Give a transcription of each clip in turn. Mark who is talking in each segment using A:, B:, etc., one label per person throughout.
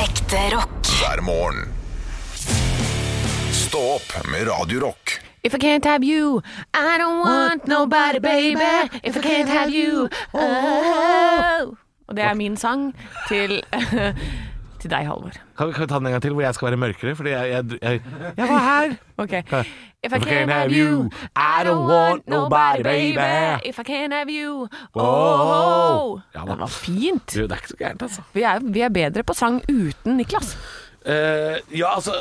A: Ekte rock.
B: hver morgen. Stå opp med Radio Rock.
C: If I can't have you, I don't want nobody, baby. If I can't have you, oh. Og det er min sang til, til deg, Halvor.
D: Kan, kan vi ta den en gang til, hvor jeg skal være mørkere? Fordi jeg, jeg, jeg, jeg var her!
C: Ok. If
D: I can't have you, I don't want nobody, baby.
C: If I can't have you,
D: Oh.
C: oh.
D: Ja, da.
C: Den var fint.
D: Du, det er ikke så gærent, altså.
C: Vi er, vi er bedre på sang uten Niklas.
D: Eh, ja, altså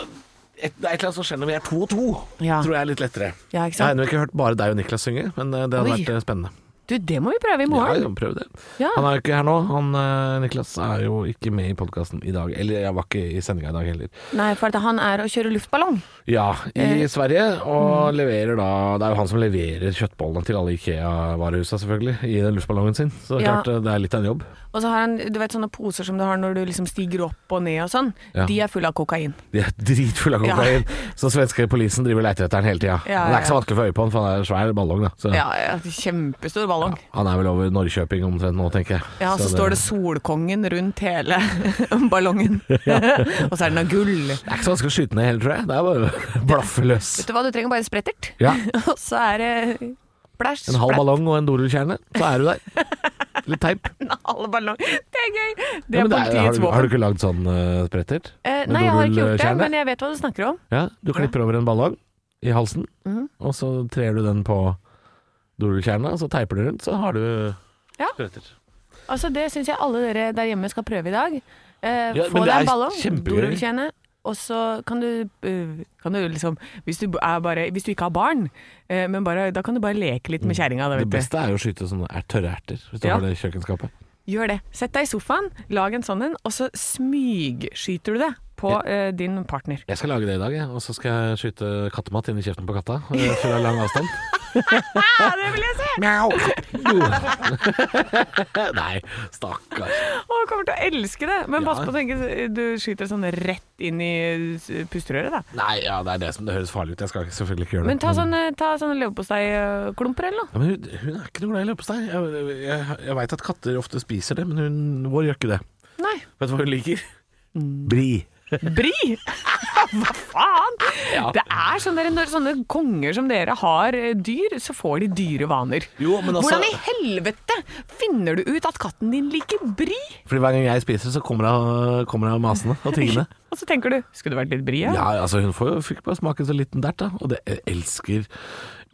D: et, Det er et eller annet som skjer når vi er to og to.
C: Ja.
D: Tror jeg er litt lettere.
C: Ja, ikke
D: Jeg har
C: sant?
D: ennå ikke hørt bare deg og Niklas synge, men eh, det
C: Oi.
D: hadde vært eh, spennende.
C: Du, det må vi prøve i
D: Ja,
C: morgen.
D: ja, prøv det.
C: Ja.
D: Han er jo ikke her nå. Han, eh, Niklas er jo ikke med i podkasten i dag. Eller jeg var ikke i sendinga i dag heller.
C: Nei, for at han er å kjøre luftballong.
D: Ja, i
C: Eh.
D: Sverige. Og
C: Mm.
D: leverer da Det er jo han som leverer kjøttbollene til alle Ikea-varehusa, selvfølgelig. I den luftballongen sin. Så det er
C: Ja.
D: klart eh, det er litt av en jobb.
C: Og så har han du vet, sånne poser som du har når du liksom stiger opp og ned og sånn.
D: Ja.
C: De er fulle av kokain.
D: De er dritfulle av kokain, så svenske polisen driver og leter etter den hele tida.
C: Ja,
D: Det er ikke så
C: ja.
D: vanskelig å få øye på han, for han er en svær ballong, da. Så
C: Ja, ja kjempestor ballong.
D: han er vel over Norrköping omtrent nå, tenker jeg.
C: Ja, så står det 'Solkongen' rundt hele ballongen. og så er den av gull.
D: Det er ikke så vanskelig å skyte ned heller, tror jeg. Det er bare å blaffe løs.
C: Vet du hva, du trenger bare en sprettert.
D: Ja.
C: og så er det Blæsj.
D: En halv
C: splatt,
D: ballong og en dorullkjerne, så er du der. Litt teip.
C: en halv ballong. Det er gøy! Det
D: Ja,
C: er
D: men det er- har,
C: politiets
D: du- har du
C: våpen.
D: ikke lagd sånn eh, sprettert?
C: Eh,
D: med
C: nei, jeg har ikke gjort det,
D: dorullkjerne?
C: men jeg vet hva du snakker om.
D: Ja, du klipper over en ballong i halsen, og så trer du den på dorullkjerna, og så teiper du rundt, så har du
C: Ja.
D: spretter.
C: Altså, Det syns jeg alle dere der hjemme skal prøve i dag. Eh,
D: Ja,
C: få
D: men
C: deg
D: det er
C: en ballong,
D: kjempegøy.
C: dorullkjerne, og så kan du, eh, kan du liksom hvis du, er bare, hvis du ikke har barn, eh, men bare, da kan du bare leke litt med kjerringa. da,
D: Mm. Det
C: vet du.
D: beste er jo å skyte sånne er- tørre erter, hvis du
C: Ja.
D: har det i kjøkkenskapet.
C: Gjør det. Sett deg i sofaen, lag en sånn en, og så smygskyter du det på eh, din partner.
D: Jeg skal lage det i dag, jeg, og så skal jeg skyte kattemat inn i kjeften på katta. eh, Full av lang avstand.
C: Ja, det vil jeg se!
D: Mjau! Nei, stakkars.
C: Å, jeg kommer til å elske det. Men
D: Ja.
C: pass på å tenke, du skyter sånn rett inn i eh, pusterøret, da.
D: Nei, ja, mm. det er det som det høres farlig ut. Jeg skal ikke- selvfølgelig ikke gjøre det.
C: Men ta sånne, ta sånne leverposteiklumper eller noe.
D: ja, men hun, hun er ikke noe glad i leverpostei. Jeg, jeg, jeg veit at katter ofte spiser det, men hun, vår gjør ikke det.
C: Nei.
D: Vet du hva hun liker? Bri.
C: Bri! Hva faen?
D: Ja.
C: Det er sånn der, når sånne konger som dere har eh, dyr, så får de dyre vaner.
D: Jo, men altså-
C: Hvordan i helvete finner du ut at katten din liker bri?
D: Fordi hver gang jeg spiser, så kommer hun kommer hun masende og tiggende.
C: Og så tenker du, skulle det vært litt bri?
D: Ja, altså hun får, fikk bare smake en så liten dert, da. Og det jeg elsker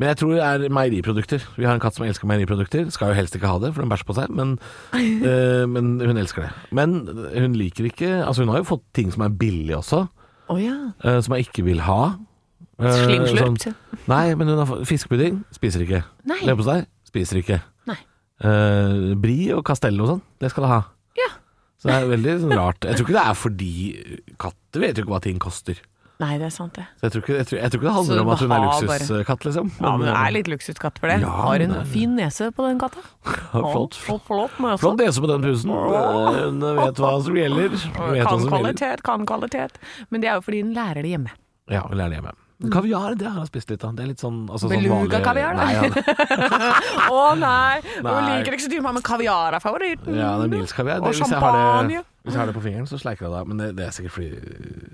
D: Men jeg tror det er meieriprodukter. Vi har en katt som elsker meieriprodukter. Skal jo helst ikke ha det, for hun bæsjer på seg, men, eh, men hun elsker det. Men hun liker ikke Altså hun har jo fått ting som er billig også,
C: Å ja.
D: eh, som jeg ikke vil ha. Eh,
C: Slimslurp.
D: sånn- Nei, men hun har fått fiskepudding. Spiser ikke.
C: Nei.
D: Leverpostei. Spiser ikke.
C: Nei.
D: Eh, bri og castello og sånn, det skal det ha.
C: Ja.
D: Så det er veldig sånn rart. Jeg tror ikke det er fordi katter vet jo ikke hva ting koster.
C: Nei, det er sant det.
D: Så jeg tror ikke, jeg tror, jeg tror ikke det
C: Så
D: handler
C: du
D: om at hun er
C: bare har
D: luksuskatt, liksom.
C: Ja, men det er litt luksuskatt for det.
D: Ja,
C: har en
D: men det er-
C: fin nese på den katta.
D: flott.
C: Ja, og flott nese.
D: Flott nese på den pusen. Eh, Hun vet hva som gjelder. Hun vet hva
C: Kan
D: som gjelder.
C: kvalitet, kan kvalitet. Men det er jo fordi den lærer det hjemme.
D: Ja, hun lærer det hjemme. Kaviar, det har jeg spist litt av. Det er litt sånn altså, sånn
C: Beluga
D: vanlig-
C: kaviar, da?
D: Nei, ja, det-
C: Å nei, hun
D: Nei.
C: liker ikke så dyrt, men kaviar er favoritten.
D: ja, det er Niels-kaviar. Det-
C: Og
D: Hvis, jeg har
C: champagne.
D: det- hvis jeg har det på fingeren, så sleiker jeg det av. Men det, det er sikkert fordi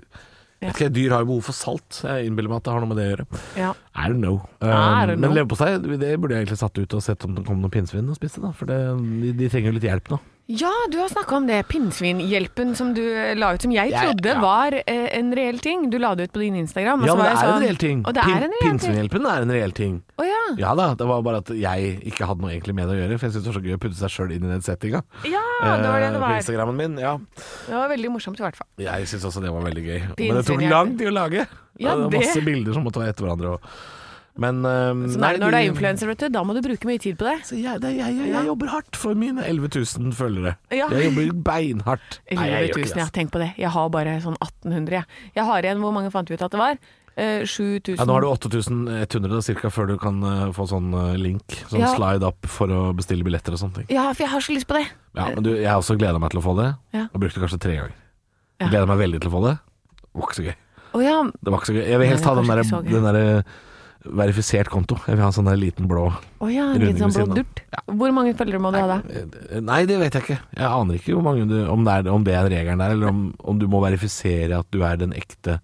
D: Jeg vet ikke, Dyr har jo behov for salt. Jeg innbiller meg at det har noe med det å gjøre.
C: Ja.
D: I don't know.
C: Ah, I don't know.
D: Um, men leverpostei det burde jeg egentlig satt ut og sett om det kom noen pinnsvin og spiste. da For det, de, de trenger jo litt hjelp nå.
C: ja, du har snakka om det. Pinnsvinhjelpen som du eh, la ut, som jeg
D: Jeg-
C: trodde
D: ja.
C: var eh, en reell ting. Du la det ut på din Instagram. og
D: Ja,
C: så
D: men
C: var
D: det
C: jeg
D: er en
C: sånn-
D: reell ting.
C: Og det er en
D: Pin-
C: reell ting.
D: Pinnsvinhjelpen er en reell ting.
C: Å ja.
D: Ja da, det var bare at jeg ikke hadde noe egentlig med det å gjøre. For jeg syns det var så gøy å putte seg sjøl inn i den settinga.
C: ja, det var det
D: Eh,
C: det
D: På
C: var.
D: Instagrammen min. Ja.
C: Det var veldig morsomt i hvert fall.
D: Jeg syns også det var veldig gøy. Men det tok
C: Pinnsvinhjelpen.
D: lang tid å lage.
C: Ja,
D: det var
C: det-
D: masse bilder som måtte være etter hverandre. Og... Men um,
C: Så nei, når du
D: de-
C: er influenser, vet du, da må du bruke mye tid på det.
D: Så jeg, det, jeg, jeg, jeg jobber hardt for mine 11 000 følgere.
C: Ja.
D: Jeg jobber beinhardt.
C: 11 000,
D: altså.
C: ja. Tenk på det. Jeg har bare sånn 1800, jeg. Jeg har igjen, hvor mange fant vi ut at det var? Eh, 7000.
D: altså. Ja, nå har du 8100 cirka før du kan eh, få sånn eh, link, sånn
C: Ja.
D: slide up for å bestille billetter og sånne ting.
C: Ja, for jeg har så lyst på det.
D: Ja, men du, jeg har også gleda meg til å få det.
C: Ja.
D: Jeg brukte det kanskje tre ganger.
C: Ja.
D: Jeg Gleda meg veldig til å få det. Det var ikke så gøy.
C: Å ja.
D: Det var ikke så gøy. Jeg vil helst
C: Nei,
D: ha
C: det
D: den
C: var
D: derre
C: kanskje ikke så gøy.
D: den derre verifisert konto. Jeg vil ha en sånn der liten blå
C: Å ja, en
D: Runding
C: liten sånn
D: ved siden
C: blå
D: av.
C: durt. Hvor mange følgere må du ha da?
D: Eh, Nei, det vet jeg ikke. Jeg aner ikke hvor mange du, om, det er, om det er regelen der, eller om, om du må verifisere at du er den ekte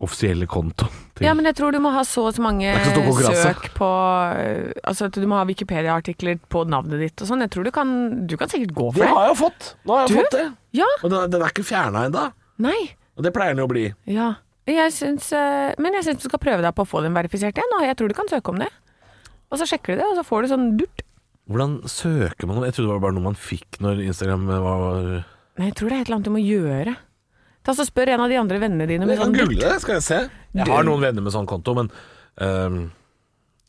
D: offisielle kontoen. til-
C: Ja, men jeg tror du må ha så og så mange
D: Det er ikke så stor konkurranse.
C: søk på øh, Altså at du må ha Wikipedia-artikler på navnet ditt og sånn. Jeg tror du kan Du kan sikkert gå for
D: det
C: det.
D: har jeg jo fått! Nå har jeg
C: Du?
D: fått det.
C: Ja.
D: Og den, den er ikke fjerna ennå.
C: Nei.
D: Og det pleier den jo å bli.
C: Ja. Jeg syns, øh, men jeg syns du skal prøve deg på å få den verifisert igjen, og jeg tror du kan søke om det. Og så sjekker du det, og så får du sånn durt.
D: Hvordan søker man Jeg trodde det var bare noe man fikk når Instagram var
C: Nei, jeg tror det er et eller annet du må gjøre. Ta så Spør en av de andre vennene dine med
D: Jeg kan
C: sånn
D: google
C: durt.
D: det, skal jeg se. Jeg har noen venner med sånn konto, men ehm,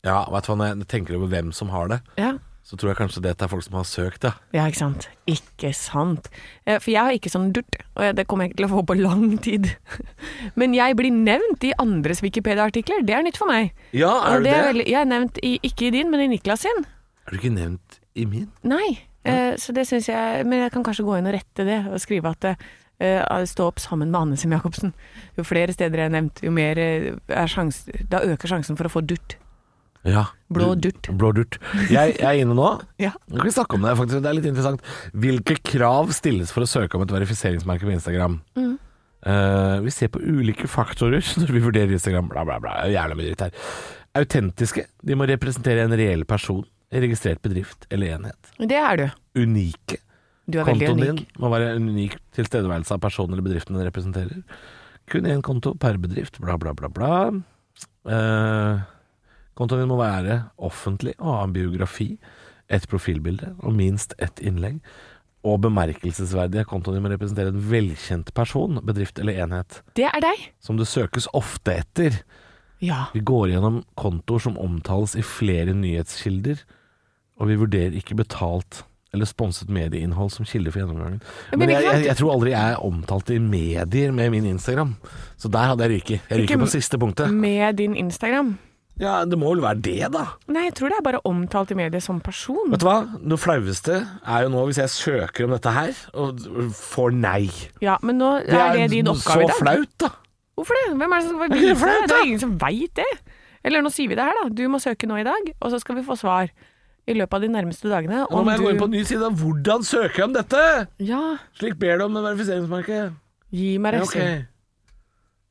D: Ja, vet du hva, når jeg tenker over hvem som har det,
C: Ja.
D: så tror jeg kanskje det er folk som har søkt, ja.
C: ja, ikke sant. Ikke sant. Eh, For jeg har ikke sånn durt, og jeg- det kommer jeg ikke til å få på lang tid. Men jeg blir nevnt i andres Wikipedia-artikler, det er nytt for meg.
D: Ja,
C: Og det er veldig, jeg er nevnt i, ikke i din, men i Niklas sin.
D: Er du ikke nevnt i min?
C: Nei. Eh, så det syns jeg Men jeg kan kanskje gå inn og rette det, og skrive at eh, stå opp sammen med Anne Sem Jacobsen. Jo flere steder jeg er nevnt, jo mer eh, er sjans, Da øker sjansen for å få durt.
D: Ja.
C: Blå
D: Du-
C: durt.
D: Blå durt. Jeg, jeg er inne nå.
C: Ja.
D: Nå skal vi snakke om det, faktisk. Det er litt interessant. Hvilke krav stilles for å søke om et verifiseringsmerke på Instagram?
C: Mm.
D: Eh, vi ser på ulike faktorer når vi vurderer Instagram. Bla, bla, bla. Jævla mye dritt her. Autentiske. De må representere en reell person, en registrert bedrift eller enhet.
C: Det er du.
D: Unike.
C: Du er veldig
D: Kontoen
C: unik.
D: din må være en unik tilstedeværelse av personen eller bedriften den representerer. Kun én konto per bedrift, bla, bla, bla, bla. Eh, kontoen din må være offentlig og ha en biografi, et profilbilde og minst ett innlegg. Og bemerkelsesverdige. Kontoen din må representere en velkjent person, bedrift eller enhet,
C: Det er deg.
D: som det søkes ofte etter.
C: Ja.
D: Vi går gjennom kontoer som omtales i flere nyhetskilder, og vi vurderer ikke betalt eller sponset medieinnhold som kilde for gjennomgangen.
C: Men
D: Men
C: ikke
D: jeg,
C: sant?
D: jeg, jeg tror aldri jeg er omtalt i medier med min Instagram, så der hadde jeg ryket. Jeg
C: Ikke- Mm.
D: ryker på siste punktet.
C: Med din Instagram.
D: Ja, Det må vel være det, da.
C: Nei, jeg tror det er bare omtalt i media som person.
D: Vet du hva? Det flaueste er jo nå hvis jeg søker om dette her og får nei.
C: Ja, Men nå er det din oppgave i
D: så
C: dag.
D: flaut, da.
C: Hvorfor det? Hvem er det som skal
D: ikke det
C: vise det?
D: flaut,
C: Det
D: da?
C: er ingen som veit det. Eller nå sier vi det her, da. Du må søke nå i dag, og så skal vi få svar i løpet av de nærmeste dagene.
D: Nå må jeg gå inn på
C: du
D: en ny side. Hvordan søker jeg om dette?
C: Ja,
D: Slik ber du om med verifiseringsmerket.
C: gi meg
D: Ja,
C: resten.
D: ok.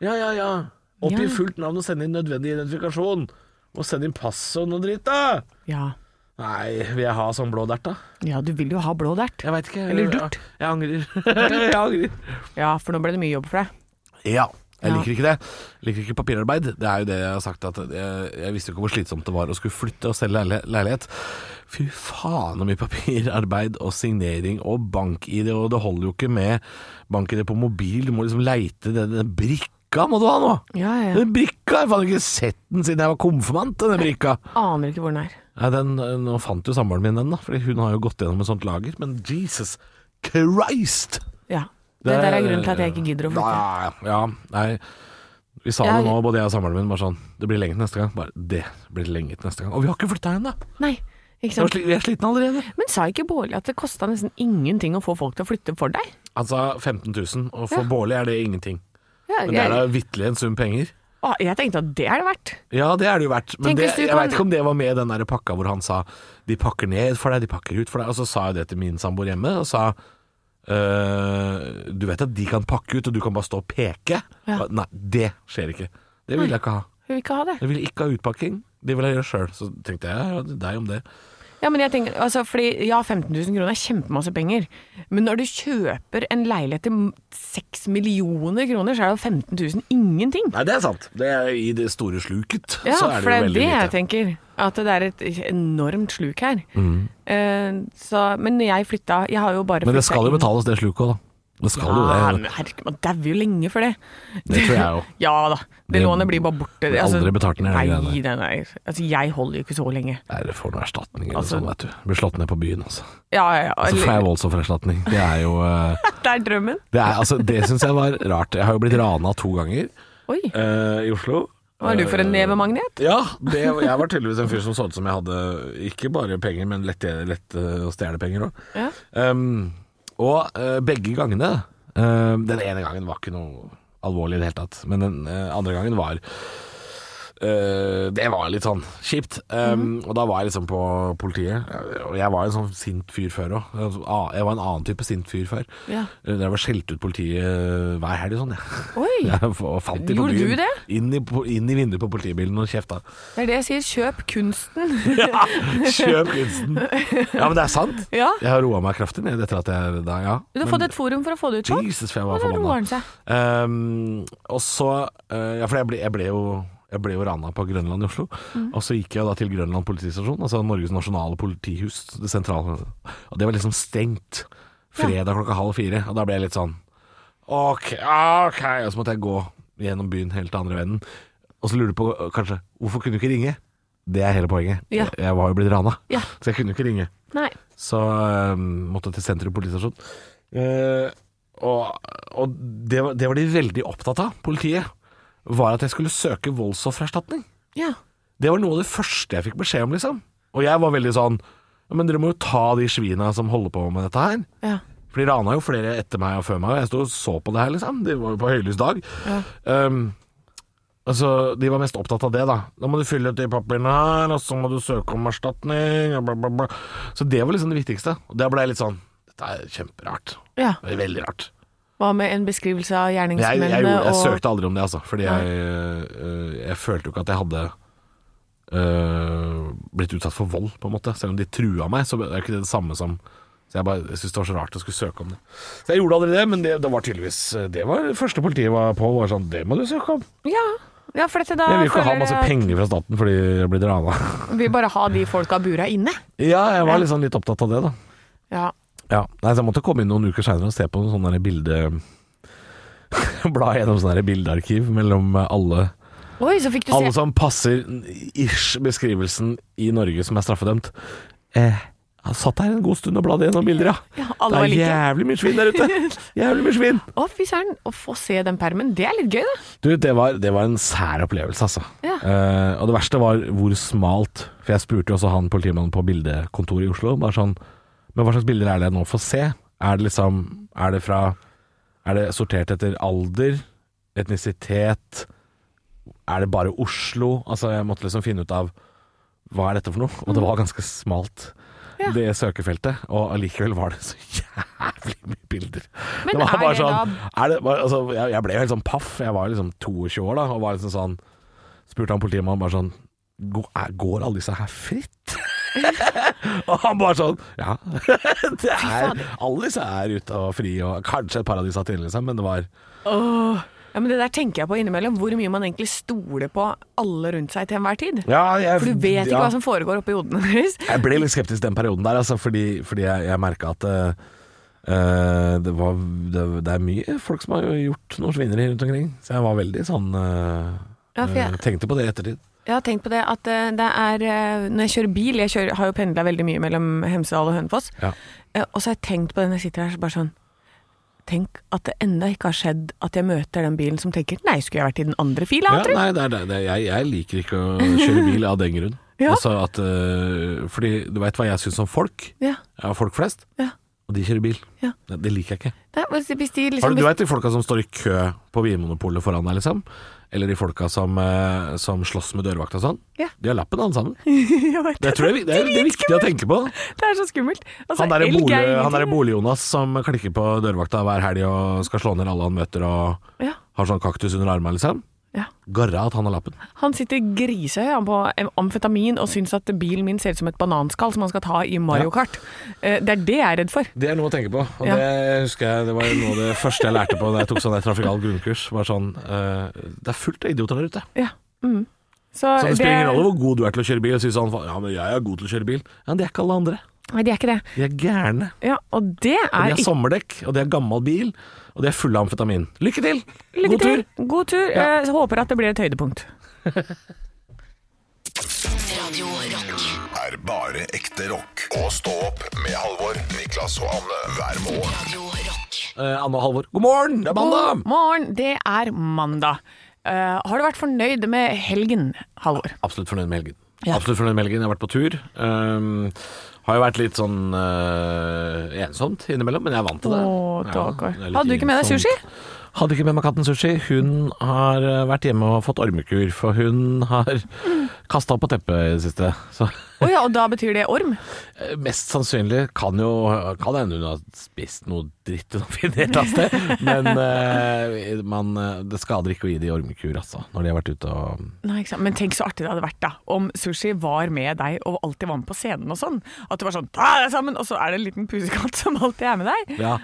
D: Ja, ja, ja. Oppgi
C: Ja.
D: fullt navn og send inn nødvendig identifikasjon. Og send inn pass og noe dritt, da.
C: Ja.
D: Nei, vil jeg ha sånn blå dert, da?
C: ja, du vil jo ha blå dert.
D: Jeg veit ikke.
C: Eller durt.
D: Jeg angrer. jeg angrer.
C: Ja, for nå ble det mye jobb for deg.
D: Ja. Jeg
C: Ja.
D: liker ikke det. Jeg liker ikke papirarbeid. Det er jo det jeg har sagt. At jeg, jeg visste jo ikke hvor slitsomt det var å skulle flytte og selge leile- leilighet. Fy faen så mye papirarbeid og signering og bank-ID, og det holder jo ikke med bank-ID på mobil. Du må liksom leite den, den brikka må du ha nå.
C: Ja, ja.
D: Den brikka! Jeg har faen ikke sett den siden jeg var konfirmant, denne brikka.
C: Aner ikke hvor den er.
D: Nei, den, nå fant jo samboeren min den, da, Fordi hun har jo gått gjennom et sånt lager. Men Jesus Christ!
C: Ja. Det, der er grunnen til at jeg ikke gidder å flytte.
D: Nei, ja, nei. Vi sa
C: Jeg-
D: det nå, både jeg og samboeren min, bare sånn Det blir lenge til neste gang. Bare det blir lenge til neste gang. Og vi har ikke flytta ennå!
C: Nei, ikke
D: Vi var
C: sant.
D: sli- vi er slitne allerede.
C: Men sa ikke Bårli at det kosta nesten ingenting å få folk til å flytte for deg?
D: Altså 15 000, og for
C: Ja.
D: Bårli er det ingenting.
C: Ja,
D: Men det er da
C: jeg,
D: vitterlig en sum penger.
C: Å, jeg tenkte at det er det verdt.
D: Ja, det er det jo verdt. Men
C: Tenk
D: det,
C: hvis du
D: jeg
C: kan-
D: veit ikke om det var med i den der pakka hvor han sa 'de pakker ned for deg, de pakker ut for deg'. Og så sa jeg det til min samboer hjemme, og sa «Øh, 'du vet at de kan pakke ut, og du kan bare stå og peke'.
C: Ja.
D: Nei, det skjer ikke. Det vil jeg ikke ha.
C: Hun vil ikke ha det.
D: Jeg vil ikke ha utpakking. Det vil jeg gjøre sjøl. Så tenkte jeg ja, deg om det.
C: Ja, men jeg tenker, altså, fordi, ja, 15 000 kroner er kjempemasse penger, men når du kjøper en leilighet til 6 millioner kroner, så er jo 15 000 ingenting.
D: Nei, det er sant. Det er I det store sluket
C: Ja,
D: så er
C: for det
D: det jo
C: er
D: veldig
C: det jeg
D: lite.
C: tenker. At det er et enormt sluk her. Eh, så, men når jeg flytta Jeg har jo bare
D: Mm. Men det
C: flyttet
D: skal jo
C: inn-
D: betales, det sluket òg, da. Det skal
C: Ja,
D: jo
C: men
D: det.
C: herregud, man dauer jo lenge for det.
D: Det tror jeg jo.
C: Ja da. Det,
D: Det
C: lånet blir bare borte.
D: blir aldri betalt ned,
C: Nei,
D: det
C: nei, nei. Altså, jeg holder jo ikke så lenge.
D: Nei, det får noe erstatning eller
C: Altså-
D: noe sånt, sånn, vet du. Blir slått ned på byen, altså.
C: Ja, ja, ja.
D: Så får jeg
C: eller-
D: voldsoffererstatning. Det er jo eh,
C: Det er drømmen.
D: Det, er- altså, det syns jeg var rart. Jeg har jo blitt rana to ganger
C: Oi.
D: eh, i Oslo.
C: Hva er du for en
D: Eh,
C: nevemagnet?
D: Ja, det, jeg var tydeligvis en fyr som så ut som jeg hadde ikke bare penger, men lette, lette å stjele penger òg.
C: Ja.
D: Um, og eh, begge gangene ehm, eh, Den ene gangen var ikke noe alvorlig i det hele tatt, men den eh, andre gangen var eh, det var litt sånn kjipt. Um,
C: Mhm.
D: Og da var jeg liksom på politiet. Og jeg var en sånn sint fyr før òg. Jeg var en annen type sint fyr før.
C: Ja.
D: Jeg var skjelt ut politiet hver helg sånn, jeg.
C: Oi!
D: Jeg f- fant de på
C: Gjorde
D: byen.
C: du det?
D: Inn i, po- inn i vinduet på politibilen og kjefta.
C: Det er det jeg sier. Kjøp kunsten.
D: Ja, kjøp kunsten! Ja, men det er sant.
C: Ja.
D: Jeg har roa meg kraftig ned etter at jeg da, ja.
C: Du har
D: Men-
C: fått et forum for å få det ut sånn.
D: Jesus, for jeg
C: Og
D: var
C: så roer han
D: forbanna.
C: seg.
D: Ehm, og så eh, Ja, for jeg ble, jeg ble jo jeg ble jo rana på Grønland i Oslo.
C: Mm.
D: Og så gikk jeg da til Grønland politistasjon, altså Norges nasjonale politihus, det sentrale. Og det var liksom stengt fredag klokka halv fire. Og da ble jeg litt sånn OK, ok. Og så måtte jeg gå gjennom byen helt til andre vennen. Og så lurer du på eh, kanskje hvorfor kunne du ikke ringe? Det er hele poenget.
C: Ja.
D: Jeg, jeg var jo blitt rana,
C: Ja.
D: så jeg kunne jo ikke ringe.
C: Nei.
D: Så øhm, ehm, måtte jeg til sentrum politistasjon. Eh, og og det, var, det var de veldig opptatt av, politiet, var at jeg skulle søke voldsoffererstatning.
C: Ja.
D: Det var noe av det første jeg fikk beskjed om, liksom. Og jeg var veldig sånn «Ja, Men dere må jo ta de svina som holder på med dette her.
C: Ja.
D: For de rana jo flere etter meg og før meg, og jeg sto og så på det her, liksom. De var jo på høylys dag. Um, altså, de var mest opptatt av det, da. Da må du fylle ut de papirene her, og så må du søke om erstatning, og bla, bla, bla. Så det var liksom det viktigste. Og der ble jeg litt sånn Dette er kjemperart.
C: ja.
D: Det er Veldig rart.
C: Hva med en beskrivelse av
D: Men Jeg, jeg,
C: gjerningsmennene
D: gjorde, jeg
C: og
D: søkte aldri om det, altså. Fordi jeg, øh, jeg følte jo ikke at jeg hadde øh, blitt utsatt for vold, på en måte. Selv om de trua meg, så er det ikke det det samme som Så jeg, bare- jeg syntes det var så rart å skulle søke om det. Så jeg gjorde aldri det, men det, det var tydeligvis eh, Det var det første politiet var på, var sånn Det må du søke om.
C: Ja. ja, for dette da
D: Jeg vil ikke ha
C: føler
D: masse
C: jeg
D: penger fra staten fordi jeg blir rana.
C: at Vi bare har de folka bura inne.
D: Ja, jeg var liksom litt opptatt av det, da.
C: Ja.
D: Ja, nei, så Jeg måtte komme inn noen uker seinere og se på noen sånne der bilde... Bla gjennom sånne der bildearkiv mellom alle
C: Oi, så fikk du
D: Alle
C: se.
D: som passer ish beskrivelsen i Norge som er straffedømt. Eh, jeg satt her en god stund og bladde gjennom bilder, ja.
C: Ja, alle var
D: det er
C: like.
D: jævlig mye svin der ute! Jævlig mye svin!
C: Å, fy søren. Å få se den permen, det er litt gøy, da.
D: Du, det var, det var en sær opplevelse, altså.
C: Ja.
D: Eh, og det verste var hvor smalt For jeg spurte jo også han politimannen på bildekontoret i Oslo. Bare sånn Men hva slags bilder er det jeg nå får se? Er det liksom Er det fra Er det sortert etter alder? Etnisitet? Er det bare Oslo? Altså, jeg måtte liksom finne ut av hva er dette for noe? Og det var ganske smalt,
C: Mm. Ja.
D: det søkefeltet. Og allikevel var det så jævlig mye bilder.
C: Men
D: det var
C: er
D: bare
C: det
D: sånn, er det, bare, altså, jeg, jeg ble jo helt sånn paff. Jeg var liksom 22 år da, og var liksom sånn Spurte han politimannen bare sånn Går, er, går alle disse her fritt? og han bare sånn Ja. det er, alle disse er ute og frie, og kanskje et par av de satt inne, liksom, men det var
C: Åh. Ja, men Det der tenker jeg på innimellom. Hvor mye man egentlig stoler på alle rundt seg til enhver tid.
D: ja, jeg,
C: For du vet ikke
D: ja.
C: hva som foregår oppi hodene deres.
D: Jeg ble litt skeptisk den perioden der, altså, fordi, fordi jeg, jeg merka at eh, eh, det, var, det, det er mye folk som har gjort noen svineri rundt omkring. Så jeg var veldig sånn eh,
C: Ja, for jeg-
D: eh, Tenkte på det i ettertid.
C: Jeg har tenkt på det at eh, det er eh, Når jeg kjører bil Jeg kjører, har jo pendla veldig mye mellom Hemsedal og Hønefoss.
D: Ja.
C: Eh, Og så har jeg tenkt på det når jeg sitter her, så bare sånn Tenk at det ennå ikke har skjedd at jeg møter den bilen som tenker Nei, skulle jeg vært i den andre fila,
D: Ja,
C: tror jeg.
D: nei, det er, det, det, jeg, jeg liker ikke å kjøre bil av den grunn.
C: Ja.
D: Altså at, eh, fordi du veit hva jeg syns om folk?
C: Ja,
D: Ja, folk flest.
C: ja.
D: Og de kjører bil.
C: Ja.
D: Det, det liker jeg ikke.
C: Det er, hvis- hvis de
D: Har
C: liksom
D: du, du veit de folka som står i kø på Vinmonopolet foran deg, liksom? Eller de folka som, eh, som slåss med dørvakta og sånn?
C: Ja.
D: De har lappen alle sammen.
C: Jeg vet
D: Det, tror jeg, vi- det, er, det er viktig å tenke på.
C: Det er så skummelt. Altså,
D: Han derre
C: elg er
D: bolig,
C: ingenting.
D: han derre Bolig-Jonas som klikker på dørvakta hver helg og skal slå ned alle han møter og
C: Ja,
D: har sånn kaktus under armene, liksom.
C: ja.
D: Garra at han har lappen.
C: Han sitter grisehøy han, på am- amfetamin og syns at bilen min ser ut som et bananskall som han skal ta i Mario Kart. Eh, Det er det jeg er redd for.
D: Det er noe å tenke på, og
C: Ja.
D: det husker jeg Det var noe av det første jeg lærte på da jeg tok sånn der trafikal grunnkurs. Var sånn eh, Det er fullt av idioter der ute.
C: Ja. Mm.
D: Så det spiller ingen rolle hvor god du er til å kjøre bil. Og sier sånn Ja, men jeg er god til å kjøre bil. Ja, men de er ikke alle andre.
C: Nei, de er ikke det.
D: De er gærne.
C: Ja, og det
D: Og
C: er
D: de har
C: ikke
D: sommerdekk, og de har gammel bil, og de er fulle av amfetamin. Lykke til!
C: Lykke
D: god
C: til.
D: tur!
C: God tur.
D: Ja.
C: Eh, så håper at det blir et høydepunkt.
B: er bare ekte rock. Og stå opp med Halvor, Niklas og Anne hver morgen.
D: Eh, Anne og Halvor, god morgen! Det er mandag!
C: God morgen, det er mandag. Eh, har du vært fornøyd med helgen, Halvor?
D: Absolutt fornøyd med helgen.
C: Ja.
D: Absolutt fornøyd med helgen. Jeg har vært på tur. Ehm, har jo vært litt sånn eh, ensomt innimellom, men jeg er vant til det.
C: Å,
D: Ja,
C: stakkar.
D: det er litt
C: Hadde du ikke med deg
D: ensomt.
C: sushi?
D: Hadde ikke med meg katten sushi. Hun har eh, vært hjemme og fått ormekur, for hun har kasta på teppet i det siste. Så
C: Å ja, og da betyr det orm?
D: eh, mest sannsynlig kan jo Kan hende hun har spist noe dritt hun har funnet et eller annet sted, men eh, man, eh, det skader ikke å gi de ormekur, altså, når de har vært ute og
C: Nei, ikke sant? Men tenk så artig det hadde vært da om sushi var med deg og alltid var med på scenen og sånn. At det var sånn ta deg sammen, og så er det en liten pusekatt som alltid er med deg.
D: Ja.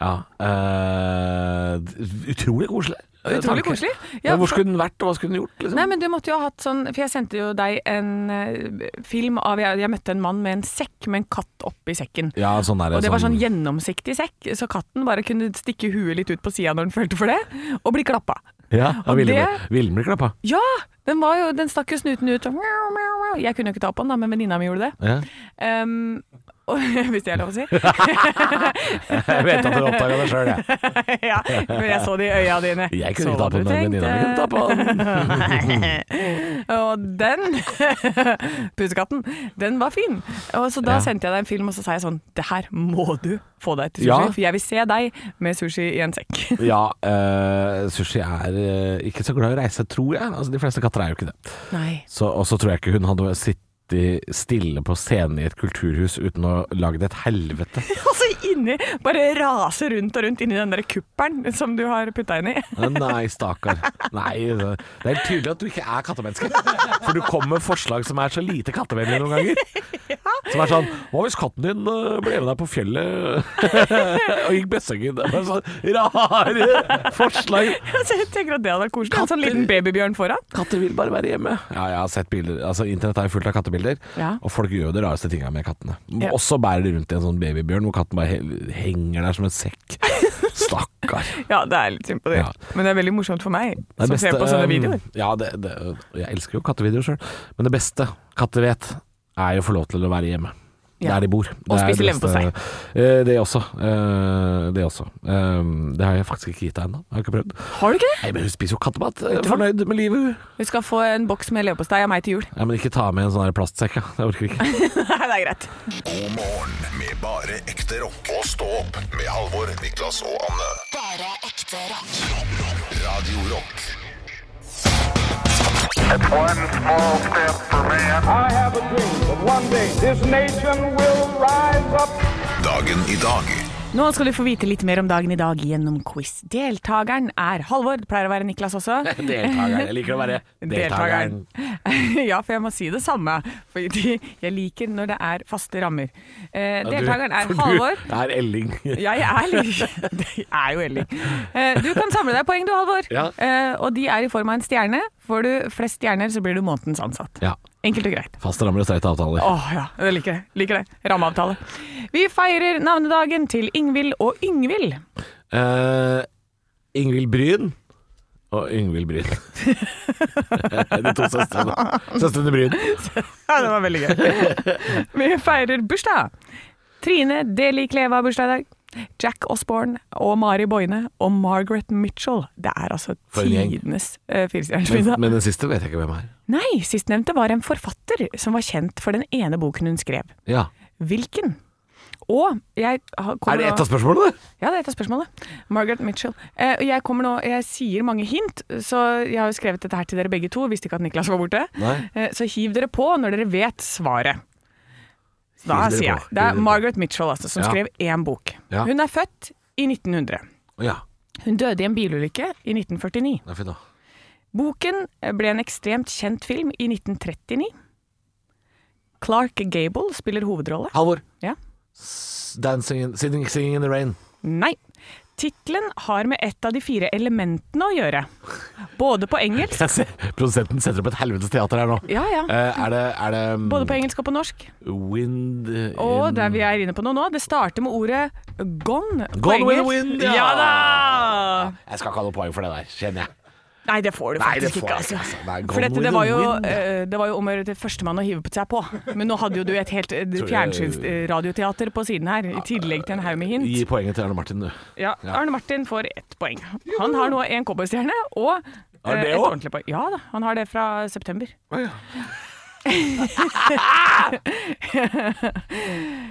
D: ja eh, utrolig koselig. eh,
C: Utrolig
D: tanke.
C: koselig, ja,
D: Men hvor
C: for-
D: skulle den vært, og hva skulle den gjort? Liksom?
C: Nei, men du måtte jo ha hatt sånn For jeg sendte jo deg en eh, film av jeg, jeg møtte en mann med en sekk med en katt oppi sekken.
D: ja, sånn er det.
C: Og det var sånn gjennomsiktig sekk, så katten bare kunne stikke huet litt ut på sida når den følte for det, og bli klappa.
D: Ja, da
C: Og
D: ville
C: det-
D: den bli- ville den bli klappa.
C: Ja! Den, var jo, den stakk jo snuten ut. og miau, miau, miau. Jeg kunne jo ikke ta på den, da, men venninna mi gjorde det.
D: Ja.
C: Ehm, og, hvis det er lov å si.
D: Jeg vet at du oppdaga det sjøl, jeg.
C: ja, men jeg så det i øya dine.
D: Jeg
C: Så
D: kunne ikke ta
C: hva
D: på den,
C: du
D: men venninna mi kunne ta på den.
C: Og den pusekatten, den var fin. Og så da
D: Ja.
C: sendte jeg deg en film, og så sa jeg sånn Det her må du få deg til sushi,
D: Ja.
C: for jeg vil se deg med sushi i en sekk.
D: Ja, eh, sushi er eh, ikke så glad i å reise, tror jeg. Altså, de fleste katter er jo ikke det.
C: Nei.
D: Så- Og så tror jeg ikke hun hadde sittet stille på scenen i et kulturhus uten å lage det et helvete.
C: Og så inni, bare rase rundt og rundt inni den der kuppelen som du har putta inn i.
D: Eh, Nei, stakkar. Nei, det det er helt tydelig at du ikke er kattemenneske. For du kommer med forslag som er så lite kattevennlige noen ganger. Som er sånn Hva hvis katten din eh, ble med deg på fjellet eh, og gikk besseggen? Det er bare sånn rare forslag.
C: Så jeg tenker at det hadde vært koselig. En sånn liten babybjørn foran.
D: Katter vil bare være hjemme. Ja, jeg har sett bilder. Altså, Internett er jo fullt av kattebilder,
C: Ja.
D: og folk gjør jo de rareste tinga med kattene.
C: Ja.
D: Også bærer de rundt i en sånn babybjørn hvor katten bare he- henger der som en sekk. Stakkar.
C: Ja, det er litt synd på det.
D: Ja.
C: Men det er veldig morsomt for meg
D: Det
C: som ser på sånne
D: um,
C: videoer.
D: Ja, det, det, jeg elsker jo kattevideoer sjøl, men det beste katter vet, er jo å få lov til å være hjemme.
C: Ja.
D: Der de bor. Det er
C: spise
D: det beste. Eh, Det også. eh, Det også. Um, Det har jeg faktisk ikke gitt deg ennå. Jeg Har ikke prøvd.
C: Har du ikke det?
D: Nei, men hun spiser jo kattemat. Eh, Fornøyd med livet, hun.
C: Du skal få en boks med leverpostei av meg til jul.
D: Ja, men ikke ta med en sånn her plastsekk, ja. Jeg orker ikke.
C: Nei, det er greit.
B: God morgen med bare ekte rock. Og stå opp med Halvor, Niklas og Anne.
A: Bare ekte rock.
B: Radio Rock.
E: One small step for man.
F: I have a dream that one day this nation will rise up.
B: Dagen i dag.
C: Nå skal du få vite litt mer om dagen i dag gjennom quiz. Deltakeren er Halvor. Det pleier å være Niklas også.
D: Deltakeren. Jeg liker å være deltakeren.
C: ja, for jeg må si det samme. Fordi jeg liker når det er faste rammer. Eh,
D: Ja, du-
C: deltakeren er
D: for du
C: Halvor.
D: er Elling.
C: Jeg er litt Det er jo Elling. Eh, Du kan samle deg poeng du, Halvor.
D: Ja.
C: Eh, Og de er i form av en stjerne. Får du flest stjerner, så blir du månedens ansatt.
D: Ja.
C: Enkelt og greit.
D: Fast rammer og streite avtaler.
C: Åh, ja. Jeg liker det. Liker det. Rammeavtale. Vi feirer navnedagen til Ingvild og Yngvild.
D: Eh, Ingvild Bryn og Yngvild Bryn. De to søstrene. Søstrene Bryn.
C: Ja, det var veldig gøy. Vi feirer bursdag. Trine Deli Kleve har bursdag i dag. Jack Osborne og Mari Boine og Margaret Mitchell. Det er altså
D: For en gjeng.
C: tidenes uh,
D: Men,
C: firestjernersmiddag.
D: men den siste vet jeg ikke hvem er.
C: Nei, sistnevnte var en forfatter som var kjent for den ene boken hun skrev.
D: Ja.
C: Hvilken? Og jeg har- kommer
D: Er det
C: nå-
D: ett av spørsmålene?
C: Ja, det er et av spørsmålene. Margaret Mitchell. Eh, og jeg kommer nå, jeg sier mange hint, så jeg har jo skrevet dette her til dere begge to. Visste ikke at Niklas var borte.
D: Nei.
C: Eh, så hiv dere på når dere vet svaret. Så Da
D: Hiv dere
C: sier jeg. Det
D: på. Hiv
C: er
D: dere på.
C: Margaret Mitchell altså, som
D: Ja.
C: skrev én bok.
D: Ja.
C: Hun er født i 1900.
D: Ja.
C: Hun døde i en bilulykke i 1949.
D: Det er fint, da.
C: Boken ble en ekstremt kjent film i 1939. Clark Gable spiller hovedrolle.
D: Halvor.
C: Ja.
D: S- Dancing in, singing, singing in the rain.
C: Nei. Tittelen har med et av de fire elementene å gjøre. Både på engelsk
D: Jeg ser, produsenten setter opp et helvetes teater her nå.
C: Ja, ja.
D: Eh, er det, er det um,
C: Både på engelsk og på norsk.
D: Wind eh, in
C: Og der vi er inne på noe nå, det starter med ordet gone. på
D: Gone with the
C: engelsk.
D: wind, ja.
C: ja da!
D: Jeg skal ikke ha noe poeng for det der, kjenner jeg.
C: Nei, det får du
D: Nei, det
C: faktisk
D: får
C: ikke.
D: jeg ikke,
C: Altså.
D: altså. Nei,
C: For
D: gone
C: dette,
D: with
C: det,
D: the
C: var jo,
D: wind, ja.
C: eh, det var jo om å gjøre til førstemann å hive på seg på. Men nå hadde jo du et helt eh, fjernsynsradioteater på siden her, i tillegg til en haug med hint.
D: Gi poenget til Arne Martin, du.
C: Ja, Arne Martin får ett poeng. Han har nå én cowboystjerne og eh,
D: det
C: et
D: også?
C: ordentlig poeng. Ja da, han har det fra september.
D: Å, ja.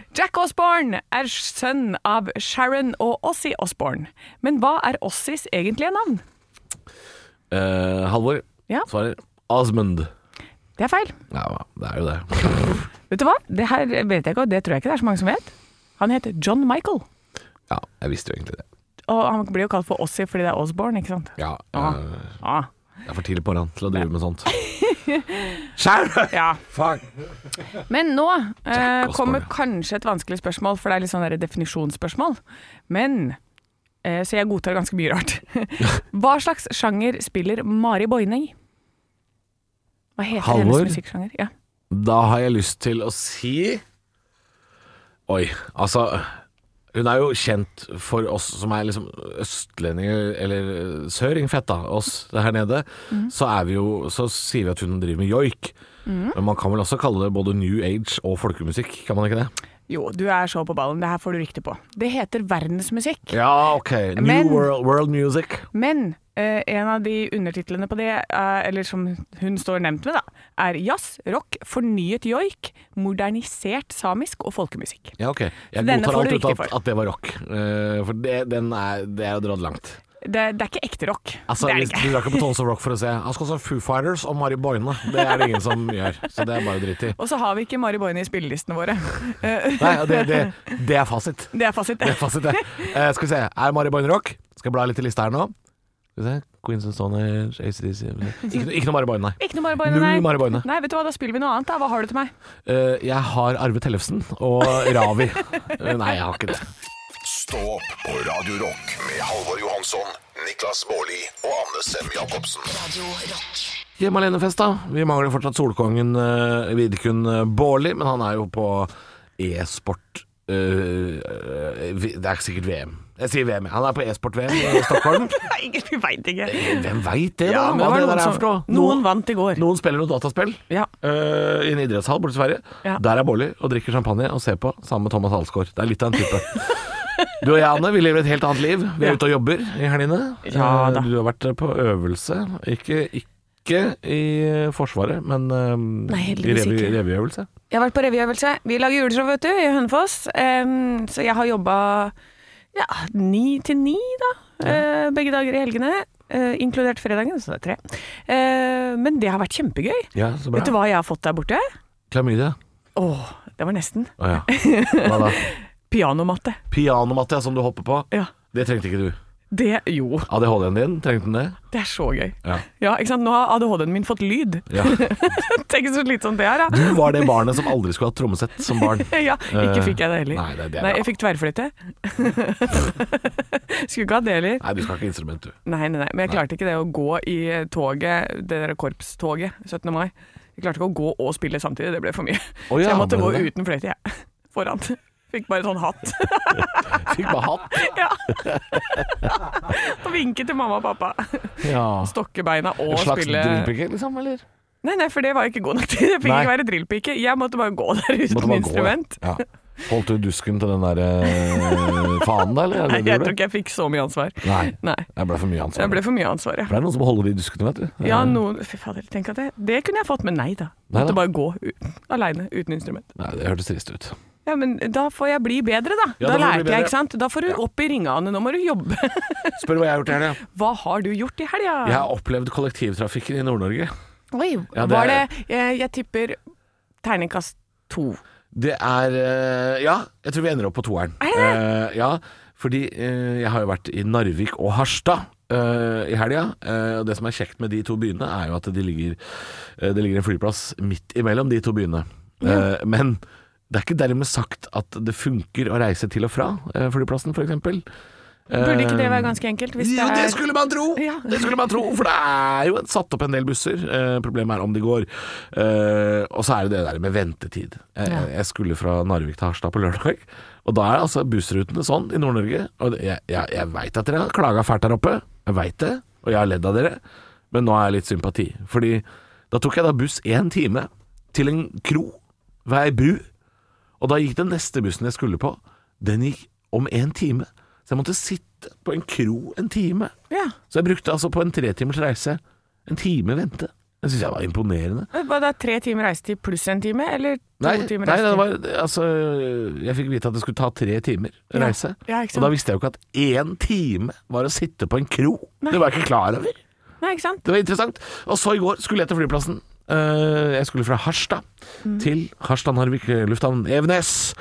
C: Jack Osborne er sønn av Sharon og Ossie Osborne. Men hva er Ossies egentlige navn?
D: Eh, Halvor
C: Ja.
D: svarer Osmund.
C: Det er feil.
D: Ja, det er jo det.
C: Vet du hva? Det her vet jeg ikke, og det tror jeg ikke det er så mange som vet. Han heter John Michael,
D: Ja, jeg visste jo egentlig det.
C: og han blir jo kalt for Ossie fordi det er Osborne, ikke sant?
D: Ja,
C: Ah.
D: eh,
C: Ah,
D: Det er for tidlig på morgenen til å drive med sånt. Skjerp!
C: ja.
D: Fuck!
C: Men nå eh,
D: Jack Osborne.
C: kommer kanskje et vanskelig spørsmål, for det er litt sånn der definisjonsspørsmål. Men eh, Så jeg godtar ganske mye rart. Hva slags sjanger spiller Mari Boine i? Hva heter
D: Halvor?
C: hennes musikksjanger? Ja.
D: Da har jeg lyst til å si Oi, altså Hun er jo kjent for oss som er liksom østlendinger, eller søringfett, da, oss her nede. Så, er vi jo, så sier vi at hun driver med joik. Men man kan vel også kalle det både new age og folkemusikk, kan man ikke det?
C: Jo, du er så på ballen. Det her får du riktig på. Det heter verdensmusikk.
D: Ja, ok. New
C: Men-
D: world, world music.
C: Men eh, en av de undertitlene på det, eh, eller som hun står nevnt med, da, er jazz, rock, fornyet joik, modernisert samisk og folkemusikk.
D: Ja, ok. Jeg
C: Denne
D: godtar
C: får du
D: alt ut
C: riktig
D: at,
C: for.
D: at det var rock. Eh, for det, den er, det er jo dratt langt.
C: Det, det er ikke ekte rock.
D: Altså,
C: det er det
D: hvis-
C: ikke.
D: Du drar ikke på Tons of Rock for å se Han skal se Foo Fighters og Mari Boine. Det er det ingen som gjør, så det er bare dritt i.
C: Og så har vi ikke Mari Boine i spillelistene våre. Eh,
D: Nei, ja, det, det, det er fasit.
C: det er fasit.
D: Det er fasit, det. Eh, skal vi se. Er Mari Boine rock? Skal jeg bla litt i lista her nå. Skal vi se. Queens of Stone Age, ACDC Ikke, ikke noe Mari Boine, nei.
C: Ikke noe Mari Boine,
D: Null
C: nei.
D: Mari Boine.
C: Nei, vet du hva, da spiller vi noe annet, da. Hva har du til meg?
D: Eh, jeg har Arve Tellefsen og Ravi. Eh, nei, jeg har ikke det.
B: Stå opp på Radio Rock med Halvor Johansson, Niklas Baarli og Anne Sem Jacobsen.
A: Radio Rock.
D: Hjemme alenefest, da. Vi mangler fortsatt solkongen uh, Vidkun eh, Baarli, men han er jo på e-sport eh, vi- Det er sikkert VM. Jeg sier VM, jeg. Han er på e-sport-VM i Stockholm. Eh,
C: Nei, ingen- vi veit ikke.
D: Hvem veit det, da?
C: Ja, men det
D: Hva
C: var
D: det
C: noen
D: der er
C: som-
D: for noe?
C: noen vant i går.
D: Noen spiller noe dataspill
C: Ja.
D: eh, i en idrettshall borte i Sverige.
C: Ja.
D: Der er Baarli og drikker champagne og ser på sammen med Thomas Halsgaard. Det er litt av en type. Du og jeg, Anne, vi lever et helt annet liv. Vi er
C: Ja.
D: ute og jobber i helgene.
C: Ja,
D: Eh,
C: da.
D: Du har vært på øvelse. Ikke, ikke i Forsvaret, men ehm,
C: Nei,
D: i
C: heldigvis
D: revy-
C: ikke.
D: revyøvelse.
C: Jeg har vært på revyøvelse. Vi lager juleshow, vet du, i Hønefoss. Em, så jeg har jobba ja, ni til ni, da. eh, begge dager i helgene. eh, inkludert fredagen, så det er tre. Eh, men det har vært kjempegøy.
D: Ja, så bra.
C: Vet du hva jeg har fått der borte?
D: Klamydia.
C: Åh, det var nesten.
D: Å ja. Hva da?
C: Pianomatte.
D: Pianomatte ja, som du hopper på.
C: Ja.
D: Det trengte ikke du.
C: Det Jo,
D: ADHD-en din, trengte den det?
C: det er så gøy.
D: Ja.
C: Ja, ikke sant? Nå har ADHD-en min fått lyd.
D: ja.
C: Tenk så slitsomt det er, da.
D: Du var det barnet som aldri skulle hatt trommesett som barn.
C: Ja, ikke
D: Eh,
C: fikk jeg det heller.
D: nei, det- det er bra.
C: jeg fikk tverrflytte. Skulle ikke hatt det heller.
D: Nei, du skal ikke ha instrument, du.
C: Nei, nei, nei. Men jeg klarte ikke det å gå i toget, det der korpstoget 17. mai. Jeg klarte ikke å gå og spille samtidig, det ble for mye.
D: Å ja,
C: så jeg måtte
D: ble
C: gå
D: det det?
C: uten fløyte, jeg. Foran. Fikk bare sånn hatt
D: Fikk bare hatt.
C: og vinke til mamma og pappa.
D: Ja.
C: Stokke beina og
D: En slags
C: spille
D: drillpikke, liksom, eller?
C: Nei, nei, for det var jeg ikke god nok til. Jeg fikk
D: Nei.
C: ikke være drillpike. Jeg måtte bare gå der
D: Måtte
C: uten
D: bare gå,
C: instrument.
D: Ja. Holdt du dusken til den der eh, fanen, da, eller? Er
C: Nei,
D: det det du
C: jeg
D: gjorde?
C: tror ikke jeg fikk så mye ansvar.
D: Nei.
C: Nei.
D: Det ble for mye ansvar.
C: Det ble for mye ansvar, ja.
D: For det er noen som holder de duskene, vet du.
C: Ja, noen Fy fader, tenk at det Det kunne jeg fått, men nei da.
D: Nei da.
C: Måtte bare gå u- aleine, uten instrument.
D: Nei, det hørtes trist ut.
C: Ja, men da får jeg bli bedre, da.
D: Ja,
C: da
D: da må du bli
C: lærte jeg,
D: bedre.
C: ikke sant. Da får du opp i ringene, nå må du jobbe.
D: Spør hva jeg har gjort i helga.
C: Hva har du gjort i helga?
D: Jeg har opplevd kollektivtrafikken i Nord-Norge.
C: Oi,
D: Ja, det
C: var det
D: er-
C: jeg, jeg tipper terningkast to.
D: Det er eh, Ja, jeg tror vi ender opp på toeren.
C: Er det
D: Eh, ja, fordi eh, jeg har jo vært i Narvik og Harstad. eh, I helga. Eh, og det som er kjekt med de to byene, er jo at de ligger, eh, det ligger en flyplass midt imellom de to byene. Eh, men det er ikke dermed sagt at det funker å reise til og fra eh, flyplassen, f.eks.
C: Burde ikke det være ganske enkelt? Hvis
D: Eh, jo,
C: det
D: det
C: er
D: skulle man tro!
C: Ja.
D: Det skulle man tro, For det er jo en- satt opp en del busser. Eh, problemet er om de går. Eh, og så er det det der med ventetid. Eh,
C: Ja.
D: Jeg skulle fra Narvik til Harstad på lørdag. Og da er altså bussrutene sånn i Nord-Norge. Og det- jeg, jeg, jeg veit at dere har klaga fælt der oppe. Jeg veit det. Og jeg har ledd av dere. Men nå har jeg litt sympati. Fordi da tok jeg da buss én time til en kro ved ei bru. Og da gikk den neste bussen jeg skulle på, den gikk om en time. Så jeg måtte sitte på en kro en time.
C: ja.
D: Så jeg brukte altså på en tretimers reise en time vente. Det syns jeg var imponerende.
C: Eh, Hva da, tre timer reisetid pluss en time, eller to
D: Nei, nei
C: timer
D: det
C: reisetid?
D: var, altså, jeg fikk vite at det skulle ta tre timer
C: Ja.
D: reise.
C: Ja, ikke sant.
D: og da visste jeg jo ikke at én time var å sitte på en kro.
C: Nei.
D: Det var jeg ikke klar over.
C: Nei, ikke sant?
D: Det var interessant. Og så i går skulle jeg til flyplassen. Eh, jeg skulle fra Harstad
C: Mm.
D: til Harstad Narvik lufthavn Evenes.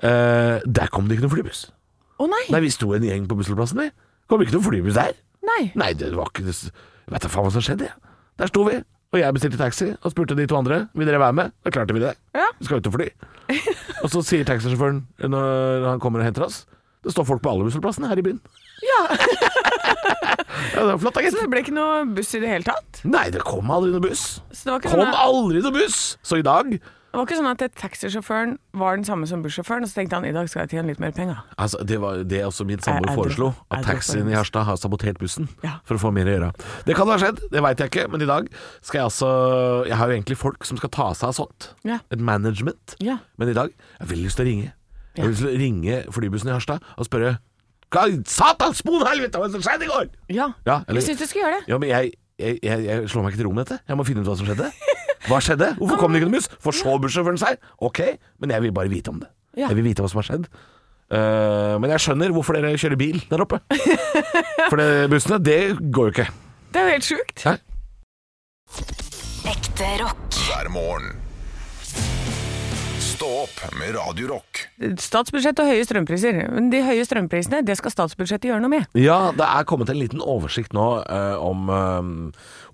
D: Eh, der kom det ikke noen flybuss.
C: Å nei!
D: Nei, vi sto en gjeng på bussholdeplassen, vi. Kom ikke noen flybuss der.
C: Nei.
D: Nei, det var ikke det. Vet da faen hva som skjedde, jeg. Der sto vi, og jeg bestilte taxi og spurte de to andre vil dere være med. Da klarte vi det.
C: Ja.
D: Vi skal ut og fly. og så sier taxisjåføren når han kommer og henter oss Det står folk på alle bussholdeplassene her i byen.
C: Ja,
D: Ja, det var flott, da, gitt.
C: Så det ble ikke noe buss i det hele tatt?
D: Nei, det kom aldri noen buss.
C: Så det var ikke,
D: Kom
C: sånn at,
D: aldri noen buss! Så i dag
C: det var ikke sånn at taxisjåføren var den samme som bussjåføren, og så tenkte han i dag skal jeg tjene litt mer penger.
D: Altså, Det var det også min samboer
C: Er- er du-
D: foreslo.
C: er
D: At
C: du
D: taxien
C: på
D: i Harstad har sabotert bussen
C: Ja.
D: for å få mer å gjøre. Det kan ha skjedd, det veit jeg ikke, men i dag skal jeg altså Jeg har jo egentlig folk som skal ta seg av sånt.
C: Ja.
D: Et management.
C: Ja.
D: Men i dag jeg har veldig lyst til å ringe. Jeg har lyst til å ringe flybussen i Harstad og spørre Hva i satans bon helvete, hva er det som skjedde i går?
C: Ja,
D: Ja, eller-
C: jeg syns du skulle gjøre det.
D: Ja, men jeg, jeg, jeg, jeg slår meg ikke til ro med dette. Jeg må finne ut hva som skjedde. Hva skjedde? Hvorfor kom det ikke noen buss? For så bussjåføren seg? Ok, men jeg vil bare vite om det.
C: Ja.
D: Jeg vil vite hva som har skjedd. Eh, men jeg skjønner hvorfor dere kjører bil der oppe. For det, bussene, det går jo ikke.
C: Det er jo helt sjukt.
D: Hæ?
A: Ekte rock.
B: hver morgen. Stå opp med Radio Rock.
C: Statsbudsjett og høye strømpriser. Men de høye strømprisene, det skal statsbudsjettet gjøre noe med.
D: Ja, det er kommet en liten oversikt nå eh, om eh,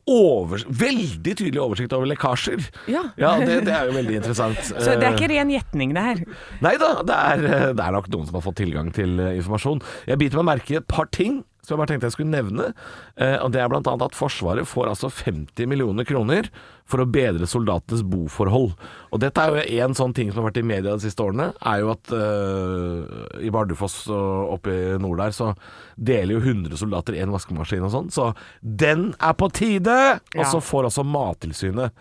D: overs Veldig tydelig oversikt over lekkasjer.
C: Ja.
D: det, det er jo veldig interessant.
C: Så det er
D: Eh,
C: ikke ren gjetning, det her.
D: Nei da, det er, eh, det er nok noen som har fått tilgang til eh, informasjon. Jeg biter meg merke i et par ting som jeg bare tenkte jeg skulle nevne. Eh, og Det er bl.a. at Forsvaret får altså 50 millioner kroner for å bedre soldatenes boforhold. Og Dette er jo en sånn ting som har vært i media de siste årene, er jo at eh, i Bardufoss og oppe i nord der, så deler jo 100 soldater én vaskemaskin og sånn. Så den er på tide! Og
C: Ja.
D: så får altså Mattilsynet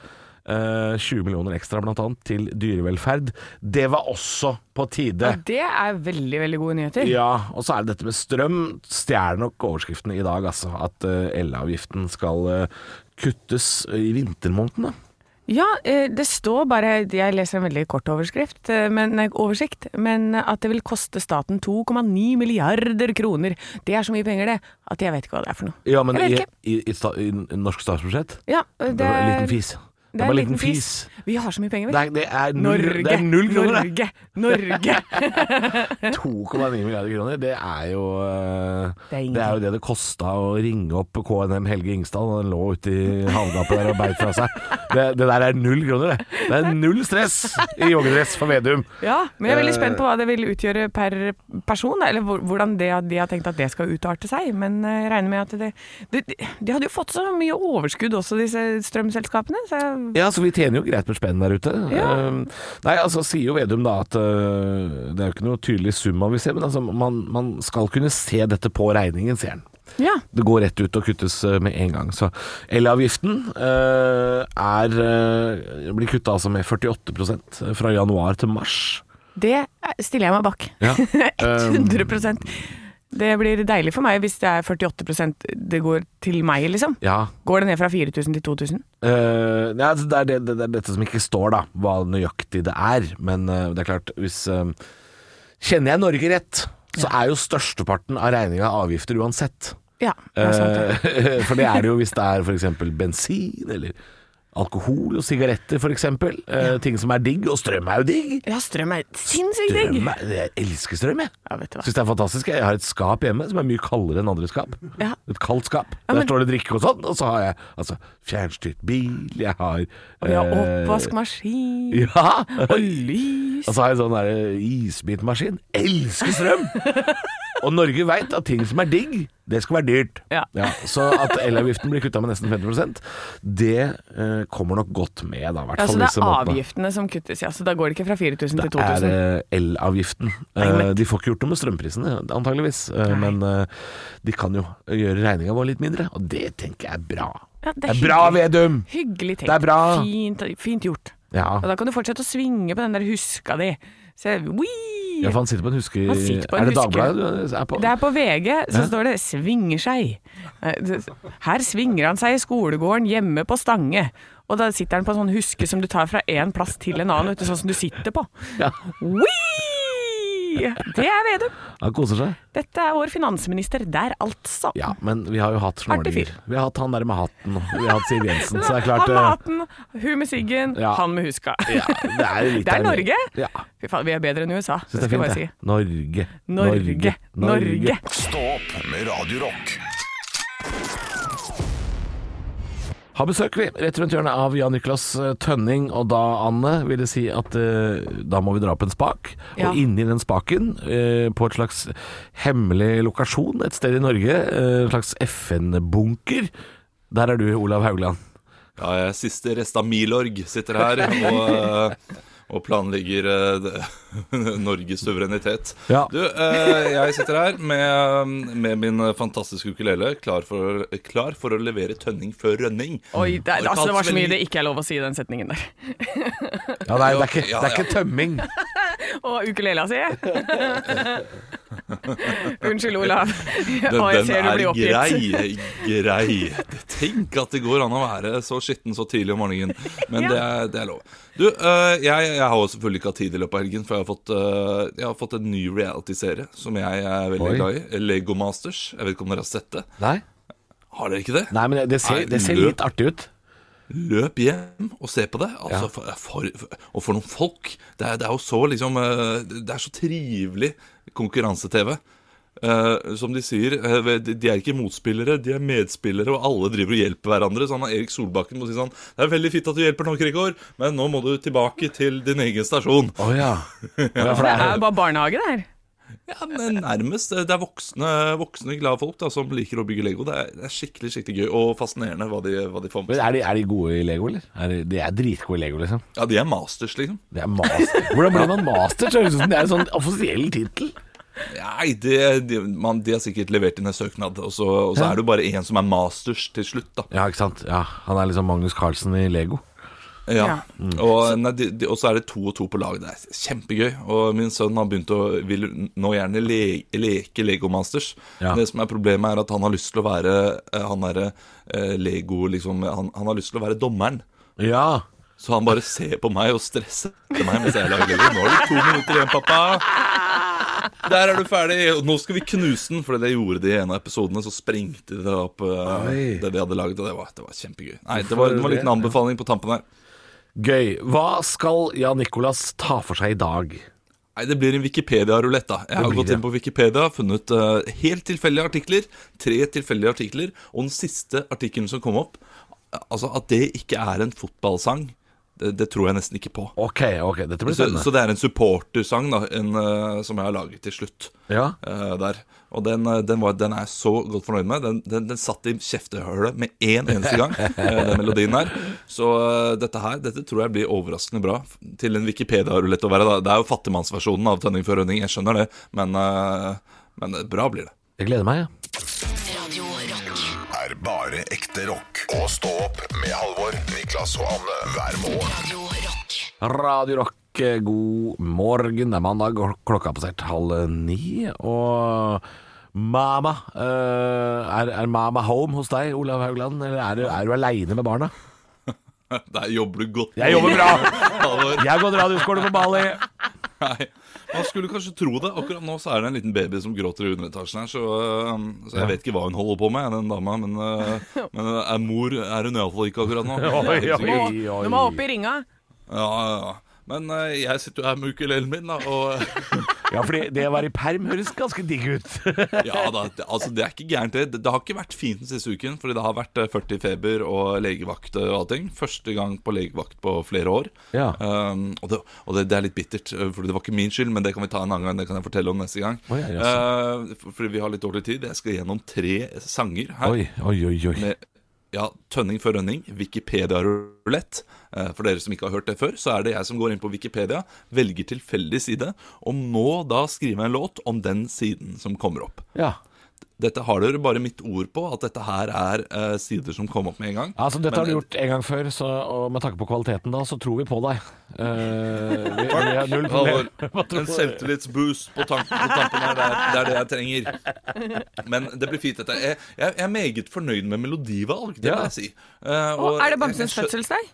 D: Eh, 20 millioner ekstra blant annet til dyrevelferd. Det var også på tide.
C: Det er veldig, veldig gode nyheter.
D: Ja, og så er det dette med strøm. Stjeler nok overskriften i dag, altså. At eh, elavgiften skal eh, kuttes i vintermånedene.
C: Ja, eh, det står bare Jeg leser en veldig kort overskrift, eh, men, nei, oversikt. Men at det vil koste staten 2,9 milliarder kroner. Det er så mye penger, det, at jeg vet ikke hva det er for noe.
D: Ja, men
C: jeg
D: i,
C: vet ikke.
D: i, i, sta, i n- norsk statsbudsjett
C: Ja,
D: Det var en liten fis. Det, var en liten fis.
C: Vi har så mye penger, vi.
D: Nei, det er null,
C: Norge,
D: det er null kroner, det.
C: Norge, Norge.
D: 2,9 milliarder kroner. Det er jo eh,
C: Det er ingenting.
D: det er jo det det kosta å ringe opp KNM Helge Ingstad da den lå ute i havgapet der og beit fra seg. Det, det der er null kroner, det. Det er null stress i joggedress for Vedum.
C: Ja, men jeg er veldig spent på hva det vil utgjøre per person, da, eller hvor- hvordan det, at de har tenkt at det skal utarte seg. Men eh, jeg regner med at det, det De hadde jo fått så mye overskudd også, disse strømselskapene. Så jeg,
D: Eh, Ja, så vi tjener jo greit med spenn der ute.
C: Ja.
D: Eh, Nei, altså sier jo Vedum da at eh, det er jo ikke noe tydelig sum man vil se, men altså man, man skal kunne se dette på regningen, sier han.
C: ja.
D: Det går rett ut og kuttes eh, med en gang. Så elavgiften eh, er, eh, blir kutta altså med 48 fra januar til mars.
C: Det stiller jeg meg bak.
D: Ja. Um.
C: 100 Det blir deilig for meg hvis det er 48 det går til meg, liksom.
D: Ja.
C: Går det ned fra 4000 til 2000?
D: Eh, nei, altså, det, er det, det, det er dette som ikke står, da, hva nøyaktig det er. Men eh, det er klart, hvis eh, Kjenner jeg Norge rett, så er jo størsteparten av regninga avgifter uansett.
C: Ja, det er sant. det.
D: Eh, for det er det jo hvis det er f.eks. bensin eller alkohol og sigaretter, f.eks. Uh, ting som er digg. Og strøm er jo digg.
C: Ja, strøm er sinnssykt digg.
D: Strøm er, jeg elsker strøm, jeg.
C: Ja, vet du hva.
D: Syns det er fantastisk. Jeg har et skap hjemme som er mye kaldere enn andre skap.
C: Ja.
D: Et kaldt skap.
C: Ja, men-
D: Der står det drikke og sånn, og så har jeg altså, fjernstyrt bil, jeg har
C: Og vi har
D: eh,
C: oppvaskmaskin
D: Ja!
C: og lys.
D: Og så har jeg sånn der isbitmaskin. Elsker strøm! og Norge veit at ting som er digg, det skal være dyrt.
C: Ja.
D: så at elavgiften blir kutta med nesten 50 det eh, kommer nok godt med, da. i hvert
C: Ja, så
D: fall
C: det
D: disse
C: er
D: månedene.
C: avgiftene som kuttes, ja. Så da går det ikke fra 4000 til
D: Det er
C: 2000.
D: eh, elavgiften.
C: Nei, men-
D: Eh, De får ikke gjort noe med strømprisene, antageligvis. Eh,
C: Nei.
D: Men eh, de kan jo eh, gjøre regninga vår litt mindre, og det tenker jeg er bra.
C: Ja,
D: det, er bra, Vedum!
C: Hyggelig tenkt.
D: Det er bra.
C: Fint, fint gjort.
D: Ja.
C: Og da kan du fortsette å svinge på den der huska di. Se, wii, Nei!
D: Ja, for han sitter på en huske...
C: Han sitter på en
D: er det
C: huske.
D: Dagbladet du eh, er på?
C: Det er på VG, så
D: Ja.
C: står det 'svinger seg'. Eh, det- Her svinger han seg i skolegården hjemme på Stange. Og da sitter han på en sånn huske som du tar fra én plass til en annen, vet du, sånn som du sitter på.
D: Ja,
C: Whee! Det er Vedum.
D: han koser seg.
C: Dette er vår finansminister der, altså.
D: Ja, men vi har jo hatt
C: Artig
D: snorlinger.
C: fyr.
D: Vi har hatt han der med hatten, og vi har hatt Siv Jensen, så det er klart
C: han med
D: eh,
C: hatten, hun med siggen,
D: Ja.
C: han med huska.
D: ja, det er, jo litt
C: Det er
D: der-
C: Norge.
D: Ja,
C: Fy faen, vi er bedre enn USA.
D: synes det er
C: skal jeg
D: fint,
C: bare
D: det.
C: si.
D: Norge.
C: Norge, Norge.
B: Stå opp med Radio Rock.
D: Har besøk, vi. Rett rundt hjørnet av Jan Niklas eh, Tønning. Og da, Anne, vil det si at eh, da må vi dra opp en spak.
C: Ja.
D: Og inni den spaken, eh, på et slags hemmelig lokasjon et sted i Norge, eh, en slags FN-bunker, der er du, Olav Haugland.
G: Ja, jeg er siste rest av Milorg sitter her og, eh, og planlegger eh, det- Norges suverenitet.
D: Ja.
G: Du, eh, jeg sitter her med, med min fantastiske ukulele, klar for, klar for å levere tønning før rønning.
C: Oi, det,
G: Og
C: altså, det var så mye
G: veldig-
C: det ikke er lov å si i den setningen der.
D: Ja, nei, det er ikke,
G: Ja,
D: det er ikke tømming.
C: Og ukelela si. Unnskyld, Olav.
G: Den,
C: Å, jeg
G: den
C: ser du
G: er
C: blir oppgitt.
G: grei, grei. Tenk at det går an å være så skitten så tidlig om morgenen. Men det, er, det er lov. Du, øh, jeg, jeg har jo selvfølgelig ikke hatt tid i løpet av helgen, for jeg har fått, øh, jeg har fått en ny reality-serie som jeg er veldig
D: Oi.
G: glad i. Lego Masters. Jeg vet ikke om dere har sett det.
D: Nei,
G: Har dere ikke det?
D: nei men det ser,
G: Nei,
D: det ser
G: du-
D: litt artig ut.
G: Løp hjem og se på det. Altså, for, for, for, og for noen folk. Det er, det er jo så liksom eh, Det er så trivelig konkurranse-TV. Eh, som de sier, eh, ved- de er ikke motspillere, de er medspillere, og alle driver og hjelper hverandre. Så han har Erik Solbakken må si sånn Det er veldig fint at du hjelper nå, Krigård, men nå må du tilbake til din egen stasjon.
D: Å ja. Å ja, for
C: Det
D: det
C: er
D: er
C: jo bare barnehage, det her.
G: Ja, men nærmest. eh, Det er voksne, voksne glade folk da, som liker å bygge Lego. Det er, det er skikkelig skikkelig gøy og fascinerende hva de, hva de får med
D: men
G: seg.
D: er de, er de gode i Lego, eller? Er de, de er dritgode i Lego, liksom.
G: Ja, de er masters, liksom.
D: Det er master. Hvordan blir man master? Det høres ut som det er en sånn offisiell tittel.
G: Nei, det, det, man, de har sikkert levert inn en søknad, og så, og så er det jo bare én som er masters til slutt, da.
D: Ja, ikke sant? Ja, Han er liksom Magnus Carlsen i Lego.
G: Ja.
C: Ja.
G: Og, nei, de, de, og så er det to og to på lag. Det er kjempegøy. Og min sønn har begynt å vil nå gjerne le, leke Lego Masters.
D: Ja.
G: Det som er problemet, er at han har lyst til å være eh, han derre eh, Lego liksom han, han har lyst til å være dommeren.
D: Ja.
G: Så han bare ser på meg og stresser til meg mens jeg lager Lego. Nå er det to minutter igjen, pappa. Der er du ferdig. Og nå skal vi knuse den, for det gjorde de i en av episodene. Så sprengte de det opp, eh,
D: Oi.
G: det de hadde laget, og det var, det var kjempegøy. Nei, det var, det var en liten anbefaling på tampen her.
D: Gøy. Hva skal Jan Nicolas ta for seg i dag?
G: Nei, Det blir en Wikipedia-rulett. da Jeg har
D: blir
G: gått
D: det.
G: inn på Wikipedia funnet eh, helt tilfeldige artikler. Tre tilfeldige artikler. Og den siste artikkelen som kom opp eh, Altså, At det ikke er en fotballsang, det, det tror jeg nesten ikke på.
D: Ok, ok, dette blir
G: Så,
D: spennende.
G: så det er en supportersang da en, eh, som jeg har laget til slutt.
D: Ja.
G: eh, der. Og den, eh, den, var, den er jeg så godt fornøyd med. Den, den, den satt i kjeftehølet med én eneste gang, eh, den melodien her. Så eh, dette her dette tror jeg blir overraskende bra f- til en Wikipedia-rulett å være. Da. Det er jo fattigmannsversjonen av Tønning før Rønning, jeg skjønner det, men, eh, men eh, bra blir det.
D: Jeg gleder meg. Ja.
A: Radio Rock.
B: Er bare ekte rock. Og stå opp med Halvor, Niklas og Anne hver morgen.
A: Radio Rock.
D: Radio Rock, eh, god morgen. Det er mandag, og klokka er passert halv ni. Og mama eh, er, er mama home hos deg, Olav Haugland? Eller er du, er du aleine med barna?
G: Der jobber du godt.
D: Jeg jobber bra!
G: Halvor.
D: Jeg har gått radioskole på Bali.
G: Nei, Man skulle kanskje tro det. Akkurat nå så er det en liten baby som gråter i underetasjen her, så, øh, så jeg vet ikke hva hun holder på med, den dama. Men, øh, men øh, er mor er hun iallfall ikke akkurat nå.
D: Oi,
G: Det er helt
D: oi,
G: sikkert.
D: oi.
C: Nå må jeg opp i ringa.
G: Ja, ja, ja. Men øh, jeg sitter jo her med ukulelen min, da, og
D: Ja, fordi det å være i perm høres ganske digg ut.
G: Ja da, det, altså det er ikke gærent, det. Det- Det har ikke vært fint den siste uken, fordi det har vært øh, 40 feber og legevakt eh, og alle ting. Første gang på legevakt på flere år.
D: Ja.
G: Um, og det, og det, det er litt bittert, øh, for det var ikke min skyld, men det kan vi ta en annen gang. Det kan jeg fortelle om neste gang.
D: Oi, ja,
G: Eh, for- fordi vi har litt dårlig tid. Jeg skal gjennom tre eh, sanger her.
D: Oi, oi, oi. oi.
G: Med, ja, Tønning før rønning, Wikipedia-rulett. Eh, for dere som ikke har hørt det før, så er det jeg som går inn på Wikipedia, velger tilfeldig side, og må da skrive en låt om den siden som kommer opp.
D: Ja.
G: dette har dere bare mitt ord på, at dette her er eh, sider som kom opp med en gang.
D: Altså, dette har du
G: Men-
D: gjort en gang før, så, og med tanke på kvaliteten da, så tror vi på deg. Eh, vi, vi har null problem.
G: Halvor, en selvtillitsboost på, tank, på tampen her, det er, det er det jeg trenger. Men det blir fint, dette. Jeg, jeg, jeg er meget fornøyd med melodivalg, det
D: Ja.
G: må jeg si. Eh,
C: Og er det
G: jeg-
C: Bamses
G: jeg skjø-
C: fødselsdag?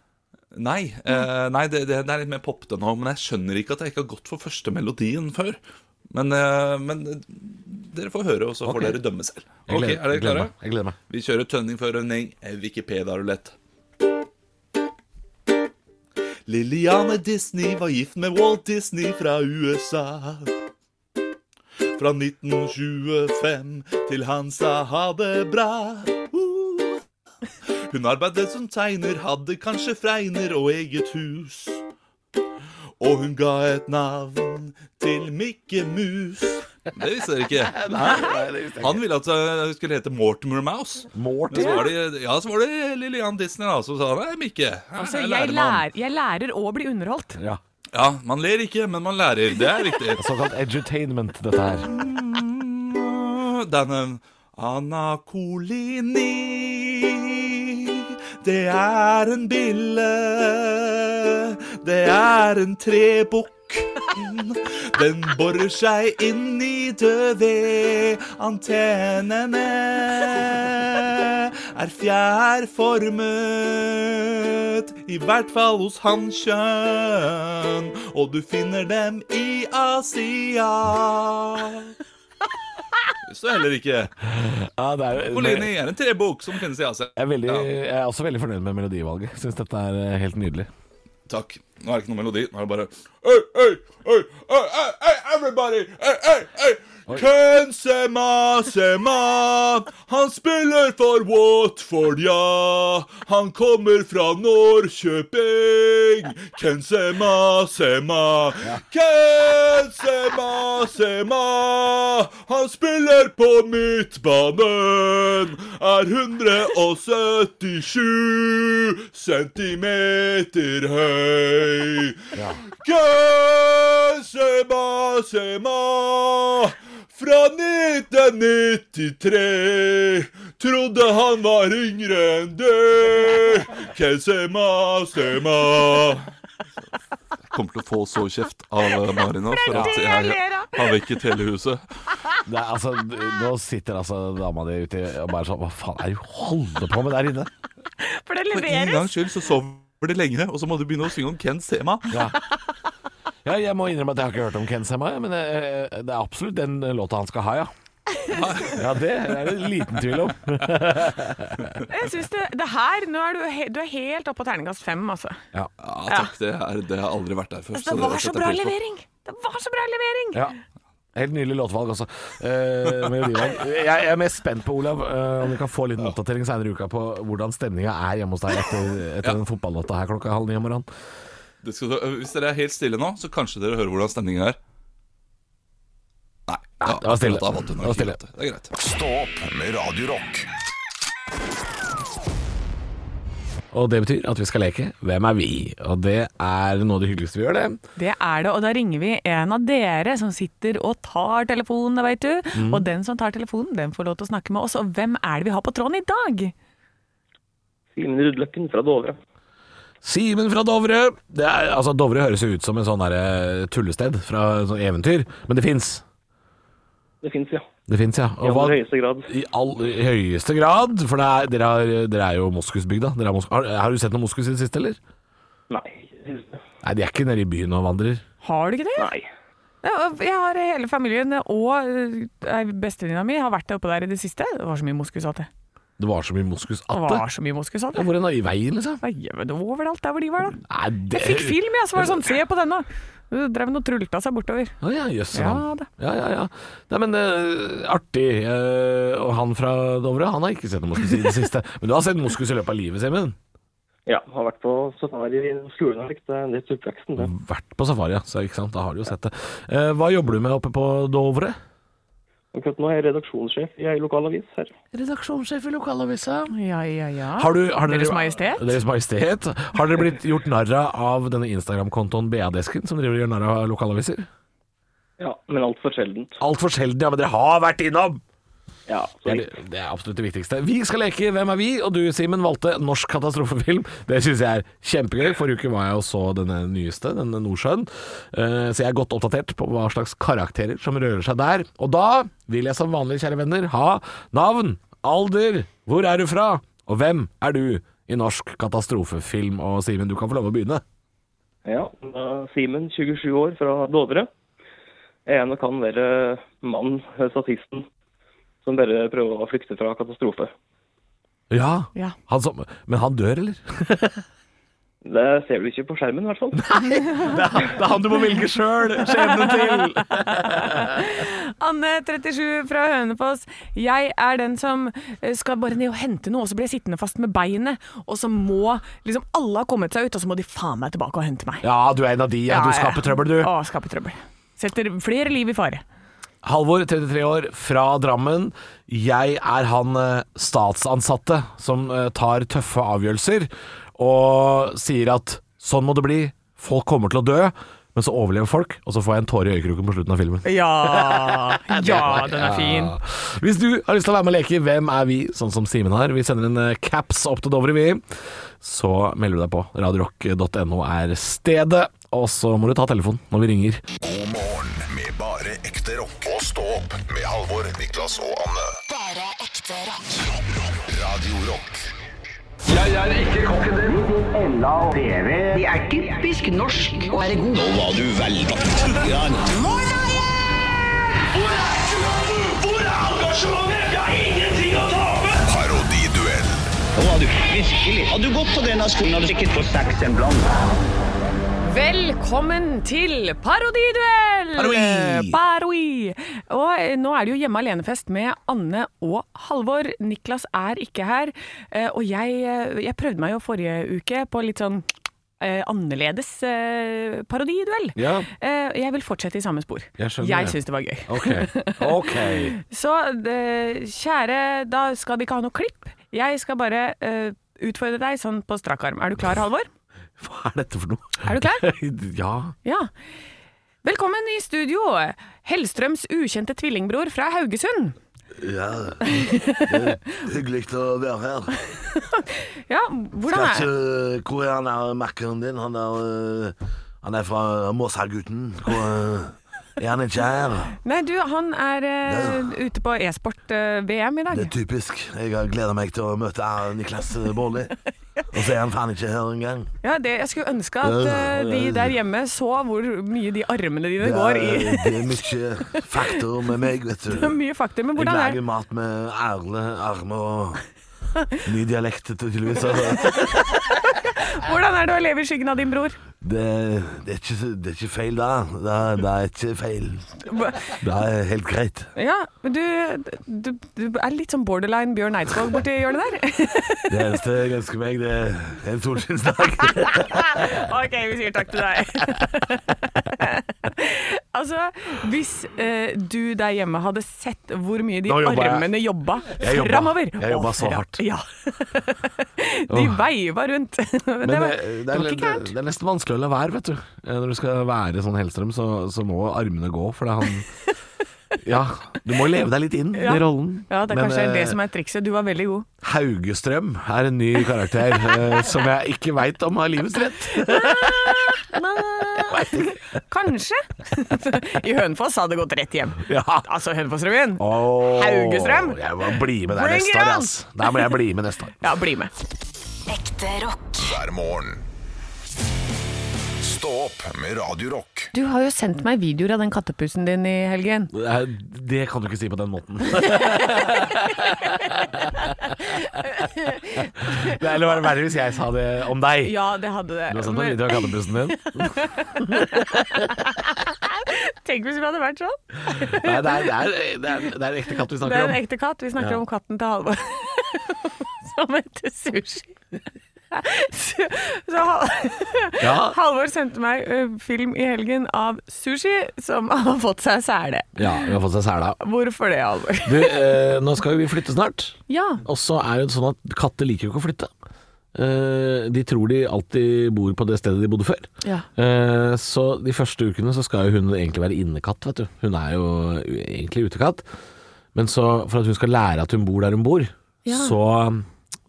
G: Nei, eh, nei det, det, det er litt mer popte nå, men jeg skjønner ikke at jeg ikke har gått for første melodien før. Men, eh, men dere får høre, og så får
D: Ok.
G: dere dømme selv.
D: Jeg
G: Ok,
D: gleder-
G: Er dere
D: jeg gleder
G: klare?
D: meg. Jeg gleder meg.
G: Vi kjører tønning for rønning, en eh, Wikipedia-rulett. Lilliane Disney var gift med Walt Disney fra USA. Fra 1925 til han sa ha det bra. Uh. Hun arbeidet som tegner, hadde kanskje fregner og eget hus. Og hun ga et navn til Mikke Mus. Det visste dere ikke. Han ville at jeg skulle hete Mortimer Mouse. Men så var det, ja, så var det Lillian Disney da, som sa nei, Mikke. her
C: Altså,
G: er
C: jeg,
G: læremann».
C: lær, jeg lærer å bli underholdt.
D: Ja.
G: Ja, man ler ikke, men man lærer. Det er viktig.
D: Såkalt edutainment, dette her.
G: Denne Anna Colini Det er en bille Det er en trebukk Den borer seg inn i døde Antennene Er fjærformet I hvert fall hos hannkjønn Og du finner dem i Asia så heller ikke.
D: Ja, det er,
G: Polini er en trebok som finnes i Asia.
D: jeg, er veldig,
G: Ja,
D: jeg er også veldig fornøyd med melodivalget. Syns dette er eh, helt nydelig.
G: takk. Nå er det ikke noe melodi. Nå er det bare Oi, oi, oi, oi, oi, oi, everybody! Oi, oi, oi! Ken Sema, Sema, han spiller for Watford, ja. Han kommer fra Norrköping. Ken Sema, Sema, Ken Sema, Sema. Han spiller på midtbanen. Er 177 centimeter høy. Ken Sema, Sema. Fra 1993 Trodde han var yngre enn det Ken Sema, Sema kommer til å få så kjeft av Mari nå for at jeg har vekket hele huset.
D: Det er, altså, d- nå sitter altså dama di ute og bare sånn Hva faen er det du holder på med der inne?
C: For det
G: For en
C: leveres.
G: gangs skyld så sover de lengre, og så må du begynne å synge om Kens tema.
D: Ja. ja, jeg må innrømme at jeg har ikke hørt om Ken Sema, men eh, det er absolutt den låta han skal ha, ja. Ja, det er det liten tvil om.
C: Jeg synes det, det her, nå er du, he, du er helt oppe på terningkast fem, altså.
G: Ja, takk, det, er, det har aldri vært der før.
C: altså. Det var så bra levering! Det var så bra levering!
D: Ja. Helt nylig låtvalg også. Eh, melodivalg. jeg, jeg er mest spent på, Olav, eh, om vi kan få en liten oppdatering senere i uka på hvordan stemninga er hjemme hos deg etter, etter den fotballåta her klokka halv ni om morgenen.
G: Det skal, du- hvis dere er helt stille nå, så kanskje dere hører hvordan stemningen er. Nei, ja,
D: det var stille.
G: da vant hun
D: Det var stille.
G: akkurat. Det er greit.
B: Stå opp med Radio Rock.
D: Og det betyr at vi skal leke Hvem er vi? Og det er noe av det hyggeligste vi gjør, det.
C: Det er det, og da ringer vi en av dere som sitter og tar telefonen, veit du.
D: Mm.
C: Og den som tar telefonen, den får lov til å snakke med oss. Og hvem er det vi har på tråden i dag?
H: Simen Rudløkken fra Dovre.
D: Simen fra Dovre. Det er, altså, Dovre høres jo ut som en sånn der, eh, tullested fra et sånt eventyr, men det fins.
H: Det fins, ja.
D: Det fins, ja.
H: I
D: Og hva,
H: aller høyeste grad.
D: I all i høyeste grad, for det er, dere, har, dere er jo moskusbygda. Dere er mos har, har du sett noe moskus i det siste, eller?
H: Nei. synes det.
D: Nei, de er ikke nede i byen og vandrer.
C: Har du ikke det?
H: Nei.
C: Ja, og Jeg har hele familien og øh, ei bestevenninna mi har vært der oppe der i det siste. Det var så mye moskus at det.
D: Det var så mye moskus
C: Det
D: at det.
C: var så mye moskus at
D: Ja,
C: det.
D: Hvor er det i veien, liksom?
C: Nei, jeg vet, Overalt der hvor de var, da.
D: Nei, det
C: Jeg fikk film, jeg, så var det sånn Se på denne! Hun drev og trulta seg bortover.
D: Å ja, jøss.
C: Ja da.
D: ja, ja, ja. Nei, men eh, artig. eh, og han fra Dovre, han har ikke sett noe moskus i det siste. Men du har sett moskus i løpet av livet, Simen?
H: Ja, har vært på safari i skolen og likt eh, det. Det er oppveksten, det.
D: Vært på safari, ja. Så, ikke sant? Da har du jo sett det. Eh, hva jobber du med oppe på Dovre?
H: Akkurat nå er jeg redaksjonssjef i ei lokal avis her.
D: Redaksjonssjef i lokalavisa.
C: Ja, ja, ja.
D: Har du, har
C: Deres Majestet?
D: Deres Majestet. Har dere blitt gjort narr av denne Instagram-kontoen BA-desken, som driver og gjør narr av lokalaviser?
H: Ja, men altfor sjeldent.
D: Altfor sjelden, ja, men dere har vært innom!
H: Ja,
D: Det
H: så
D: er, det- det er absolutt det viktigste. Vi skal leke Hvem er vi? Og du, Simen, valgte norsk katastrofefilm. Det syns jeg er kjempegøy. Forrige uke var jeg og så denne nyeste, denne Nordsjøen. Eh, Så jeg er godt oppdatert på hva slags karakterer som rører seg der. Og da vil jeg som vanlig, kjære venner, ha navn, alder, hvor er du fra, og hvem er du i norsk katastrofefilm? Og Simen, du kan få lov å begynne.
H: Ja, da er Simen, 27 år, fra Dovre. Jeg er en og kan være mann, statisten, som bare prøver å flykte fra katastrofe.
D: Ja,
C: Ja.
D: Han som, Men han dør, eller?
H: Det ser du ikke på skjermen, i hvert fall.
D: Det er han du må velge sjøl skjebnen til!
C: Anne, 37, fra Hønefoss. Jeg er den som eh, skal bare ned og hente noe, og så blir jeg sittende fast med beinet. Og så må liksom alle ha kommet seg ut, og så må de faen meg tilbake og hente meg.
D: Ja, du er en av de. Ja, du skaper trøbbel, du.
C: Å, skaper trøbbel. Setter flere liv i fare.
D: Halvor, 33 år, fra Drammen. Jeg er han eh, statsansatte som eh, tar tøffe avgjørelser og sier at sånn må det bli, folk kommer til å dø. Men så overlever folk, og så får jeg en tåre i øyekroken på slutten av filmen.
C: Ja, ja den er fin.
D: Ja. Hvis du har lyst til å være med og leke Hvem er vi?, sånn som Simen har. Vi sender en eh, caps opp til Dovre, vi. Så melder du deg på. Radiorock.no er stedet. Og så må du ta telefonen når vi ringer.
B: God morgen med bare ekte rock. Og stå opp med Halvor, Niklas og Anne.
A: Bare ekte rock.
B: Radio Rock
I: Det er typisk norsk å være god.
B: Parodiduell.
C: Velkommen til Parodiduell!
D: Parodi!
C: Parodi! Og eh, nå er det jo Hjemme alene-fest med Anne og Halvor. Niklas er ikke her. eh, Og jeg, eh, jeg prøvde meg jo forrige uke på litt sånn eh, annerledes eh, parodiduell.
D: Ja.
C: Eh, Jeg vil fortsette i samme spor.
D: Jeg skjønner det.
C: jeg syns det var gøy.
D: Ok. ok.
C: Så eh, kjære, da skal de ikke ha noe klipp. Jeg skal bare eh, utfordre deg sånn på strak arm. Er du klar, Halvor?
D: Hva er dette for noe?
C: Er du klar?
D: ja.
C: Ja. Velkommen i studio, Hellstrøms ukjente tvillingbror fra Haugesund.
J: Ja, hyggelig å være her.
C: Ja, hvordan
J: Vet
C: er
J: ikke hvor er han er makkeren din? Han er, øh, han er fra Måshagutten. Hvor øh, er han ikke her?
C: Nei, du, han er eh, ute på e-sport-VM i dag.
J: Det er typisk. Jeg har gleda meg til å møte eh, Niklas eh, Baarli. Og så er han faen ikke her engang.
C: Ja, det, jeg skulle ønske at eh, de der hjemme så hvor mye de armene dine
J: Det er,
C: går i.
J: Eh, det er mye faktor med meg, vet
C: Det er
J: du.
C: mye fakta, men
J: Jeg
C: hvordan er
J: lager mat med erle, armer og ny dialekt, tydeligvis. Altså.
C: Hvordan er det å leve i skyggen av din bror?
J: Det, det, er ikke, det er ikke feil da. Det er, det er ikke feil. Det er helt greit.
C: Ja, men du, du, du er litt sånn borderline Bjørn Eidsvåg borti hjørnet der.
J: Det eneste jeg ønsker meg, det er en solskinnsdag.
C: ok, vi sier takk til deg. altså, hvis eh, du der hjemme hadde sett hvor mye de
D: Nå jobber jeg.
C: armene jobba
D: Jeg jobba.
C: framover
D: Jeg jobba så hardt.
C: Ja. de veiva rundt. det, var,
D: Men
C: det,
D: det, det,
C: var
D: er,
C: ikke
D: det,
C: gærent.
D: det er nesten vanskelig å la være, vet du. Eh, Når du skal være sånn Hellstrøm, så, så må armene gå, for det er han Ja, du må leve deg litt inn
C: Ja.
D: i rollen.
C: Ja, det er
D: Men,
C: kanskje
D: eh,
C: det som er trikset. Du var veldig god.
D: Haugestrøm er en ny karakter eh, som jeg ikke veit om har livets rett.
C: Kanskje. I Hønefoss hadde det gått rett hjem.
D: Ja.
C: Altså, Hønefossrevyen.
D: Åh,
C: Haugestrøm?
D: Jeg må bli med der
C: Bring
D: neste
C: it
D: år,
C: on!
D: ass. Der må jeg bli med neste år.
C: Ja, bli med.
A: Ekte rock.
B: hver morgen. Stå opp med Radio Rock.
C: Du har jo sendt meg videoer av den kattepusen din i helgen.
D: Eh, Det kan du ikke si på den måten. det ville vært verre hvis jeg sa det om deg.
C: Ja, det hadde det.
D: Du har sendt noen
C: Men
D: videoer av kattepussen din.
C: tenk hvis det hadde vært sånn.
D: Nei, det er, det er, det er, det er en ekte katt vi
C: Det er
D: snakker
C: en
D: om.
C: ekte katt. Vi snakker
D: Ja.
C: om katten til Halvor som heter Sushi. Så, så Hal
D: Ja.
C: Halvor sendte meg ø, film i helgen av Sushi som har fått seg sele.
D: Ja, hun har fått seg sela.
C: Hvorfor det, Halvor?
D: Du, eh, nå skal jo vi flytte snart,
C: Ja.
D: og så er det sånn at katter liker jo ikke å flytte. Eh, de tror de alltid bor på det stedet de bodde før.
C: Ja.
D: Eh, så de første ukene så skal jo hun egentlig være innekatt, vet du. Hun er jo egentlig utekatt. Men så, for at hun skal lære at hun bor der hun bor,
C: Ja.
D: så,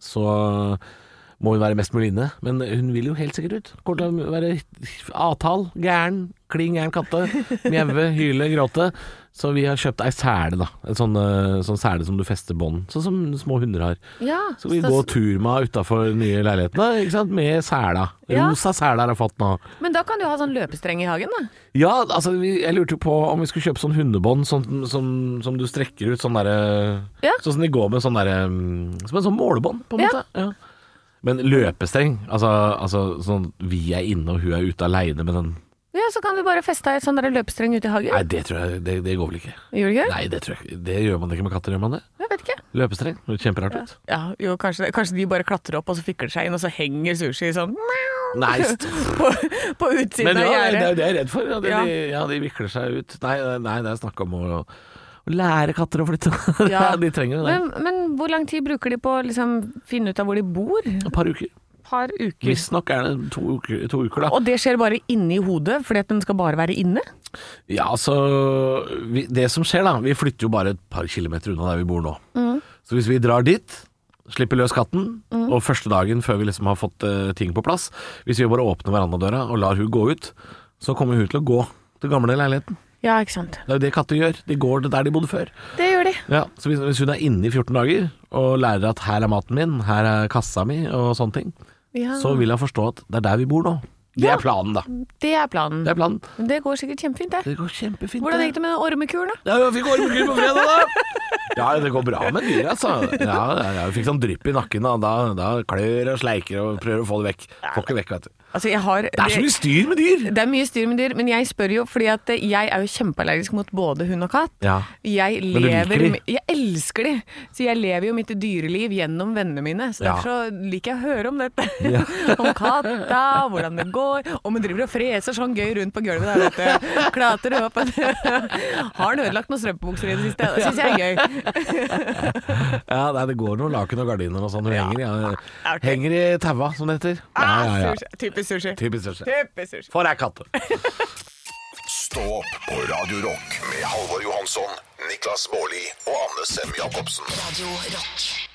D: så må hun være mest mulig inne. Men hun vil jo helt sikkert ut. Kommer til å være avtal, gæren, klin gæren katte. Mjaue, hyle, gråte. Så vi har kjøpt ei sele, da. En sånn, eh, sånn sele som du fester bånd. Sånn som små hunder har.
C: Ja,
D: Så vi går tur med henne utafor nye leilighetene, ikke sant? med sela.
C: Ja.
D: Rosa seler har jeg fått nå.
C: Men da kan du ha sånn løpestreng i hagen, da.
D: Ja, altså vi, jeg lurte jo på om vi skulle kjøpe sånn hundebånd som, som, som du strekker ut sånn derre
C: Ja.
D: Sånn som de går med sånn derre mm, Som en sånn målebånd, på en
C: Ja.
D: måte. Ja. Men løpestreng, altså, altså sånn vi er inne og hun er ute aleine med den
C: Ja, Så kan du bare feste ei sånn der løpestreng ute i hagen.
D: Nei, det tror jeg det, det går vel ikke.
C: Gjør du ikke?
D: Nei, det tror jeg ikke. Det gjør man ikke med katter, gjør man det?
C: Jeg vet ikke.
D: Løpestreng. Det høres kjemperart ut.
C: Ja, jo, kanskje, det. kanskje de bare klatrer opp, og så fikler det seg inn, og så henger sushi sånn
D: Nei, st-
C: på, på utsiden
D: Men ja,
C: av
D: det er
C: gjerdet.
D: det jeg er redd for. Ja, de,
C: Ja.
D: De, ja, de vikler seg ut. Nei, nei det er snakk om å, å lære katter å flytte.
C: Ja.
D: de trenger jo det.
C: Men, men hvor lang tid bruker de på å liksom, finne ut av hvor de bor?
D: Et par uker.
C: Et par uker.
D: Visstnok er det to uker, to uker da.
C: Og det skjer bare inni hodet, fordi at den skal bare være inne?
D: Ja, altså vi, Det som skjer, da Vi flytter jo bare et par kilometer unna der vi bor nå.
C: Mm.
D: Så hvis vi drar dit, slipper løs katten, og første dagen før vi liksom har fått eh, ting på plass Hvis vi bare åpner verandadøra og lar hun gå ut, så kommer hun til å gå til gamle leiligheten.
C: Ja, ikke sant.
D: Det er jo det katter gjør. De går til der de bodde før.
C: Det gjør de.
D: Ja, så hvis, hvis hun er inne i 14 dager og lærer at 'her er maten min', 'her er kassa mi' og sånne ting,
C: Ja.
D: så vil hun forstå at det er der vi bor nå. Det
C: Ah. Ja.
D: er planen, da.
C: Det er planen.
D: Det er planen.
C: Men Det går sikkert kjempefint, det.
D: Det går kjempefint.
C: Hvordan gikk det med den ormekuren, da?
D: Ja, jeg fikk ormekull på fredag, da! Ja, det går bra med dyret, altså. Ja, ja, jeg fikk sånn drypp i nakken, da. Da, da klør og sleiker og prøver å få det vekk. Får ikke vekk, vet du.
C: Altså, jeg har
D: Det er så mye styr med dyr!
C: det er mye styr med dyr, men jeg spør jo fordi at eh, jeg er jo kjempeallergisk mot både hund og katt.
D: Ja.
C: Jeg
D: du liker
C: lever
D: de?
C: med- Jeg elsker de! Så jeg lever jo mitt dyreliv gjennom vennene mine. Så
D: Ja.
C: derfor så liker jeg å høre om dette. om katta, hvordan det går. Om hun driver og freser sånn gøy rundt på gulvet der, vet du. Klatrer opp Har han ødelagt noen strømpebukser i det siste? Det syns jeg er gøy.
D: Ja, nei, det går noen laken og gardiner og sånn. Hun henger, i- ja, Ah,
C: artig.
D: henger i taua, som det heter. Ja, ja, ja.
C: Sushi. Typisk sushi.
D: Typisk største.
C: Typisk sushi.
D: For ei katte.
B: Stå opp på Radio Rock med Halvor Johansson, Niklas Baarli og Anne Sem Jacobsen.
A: Radio Rock.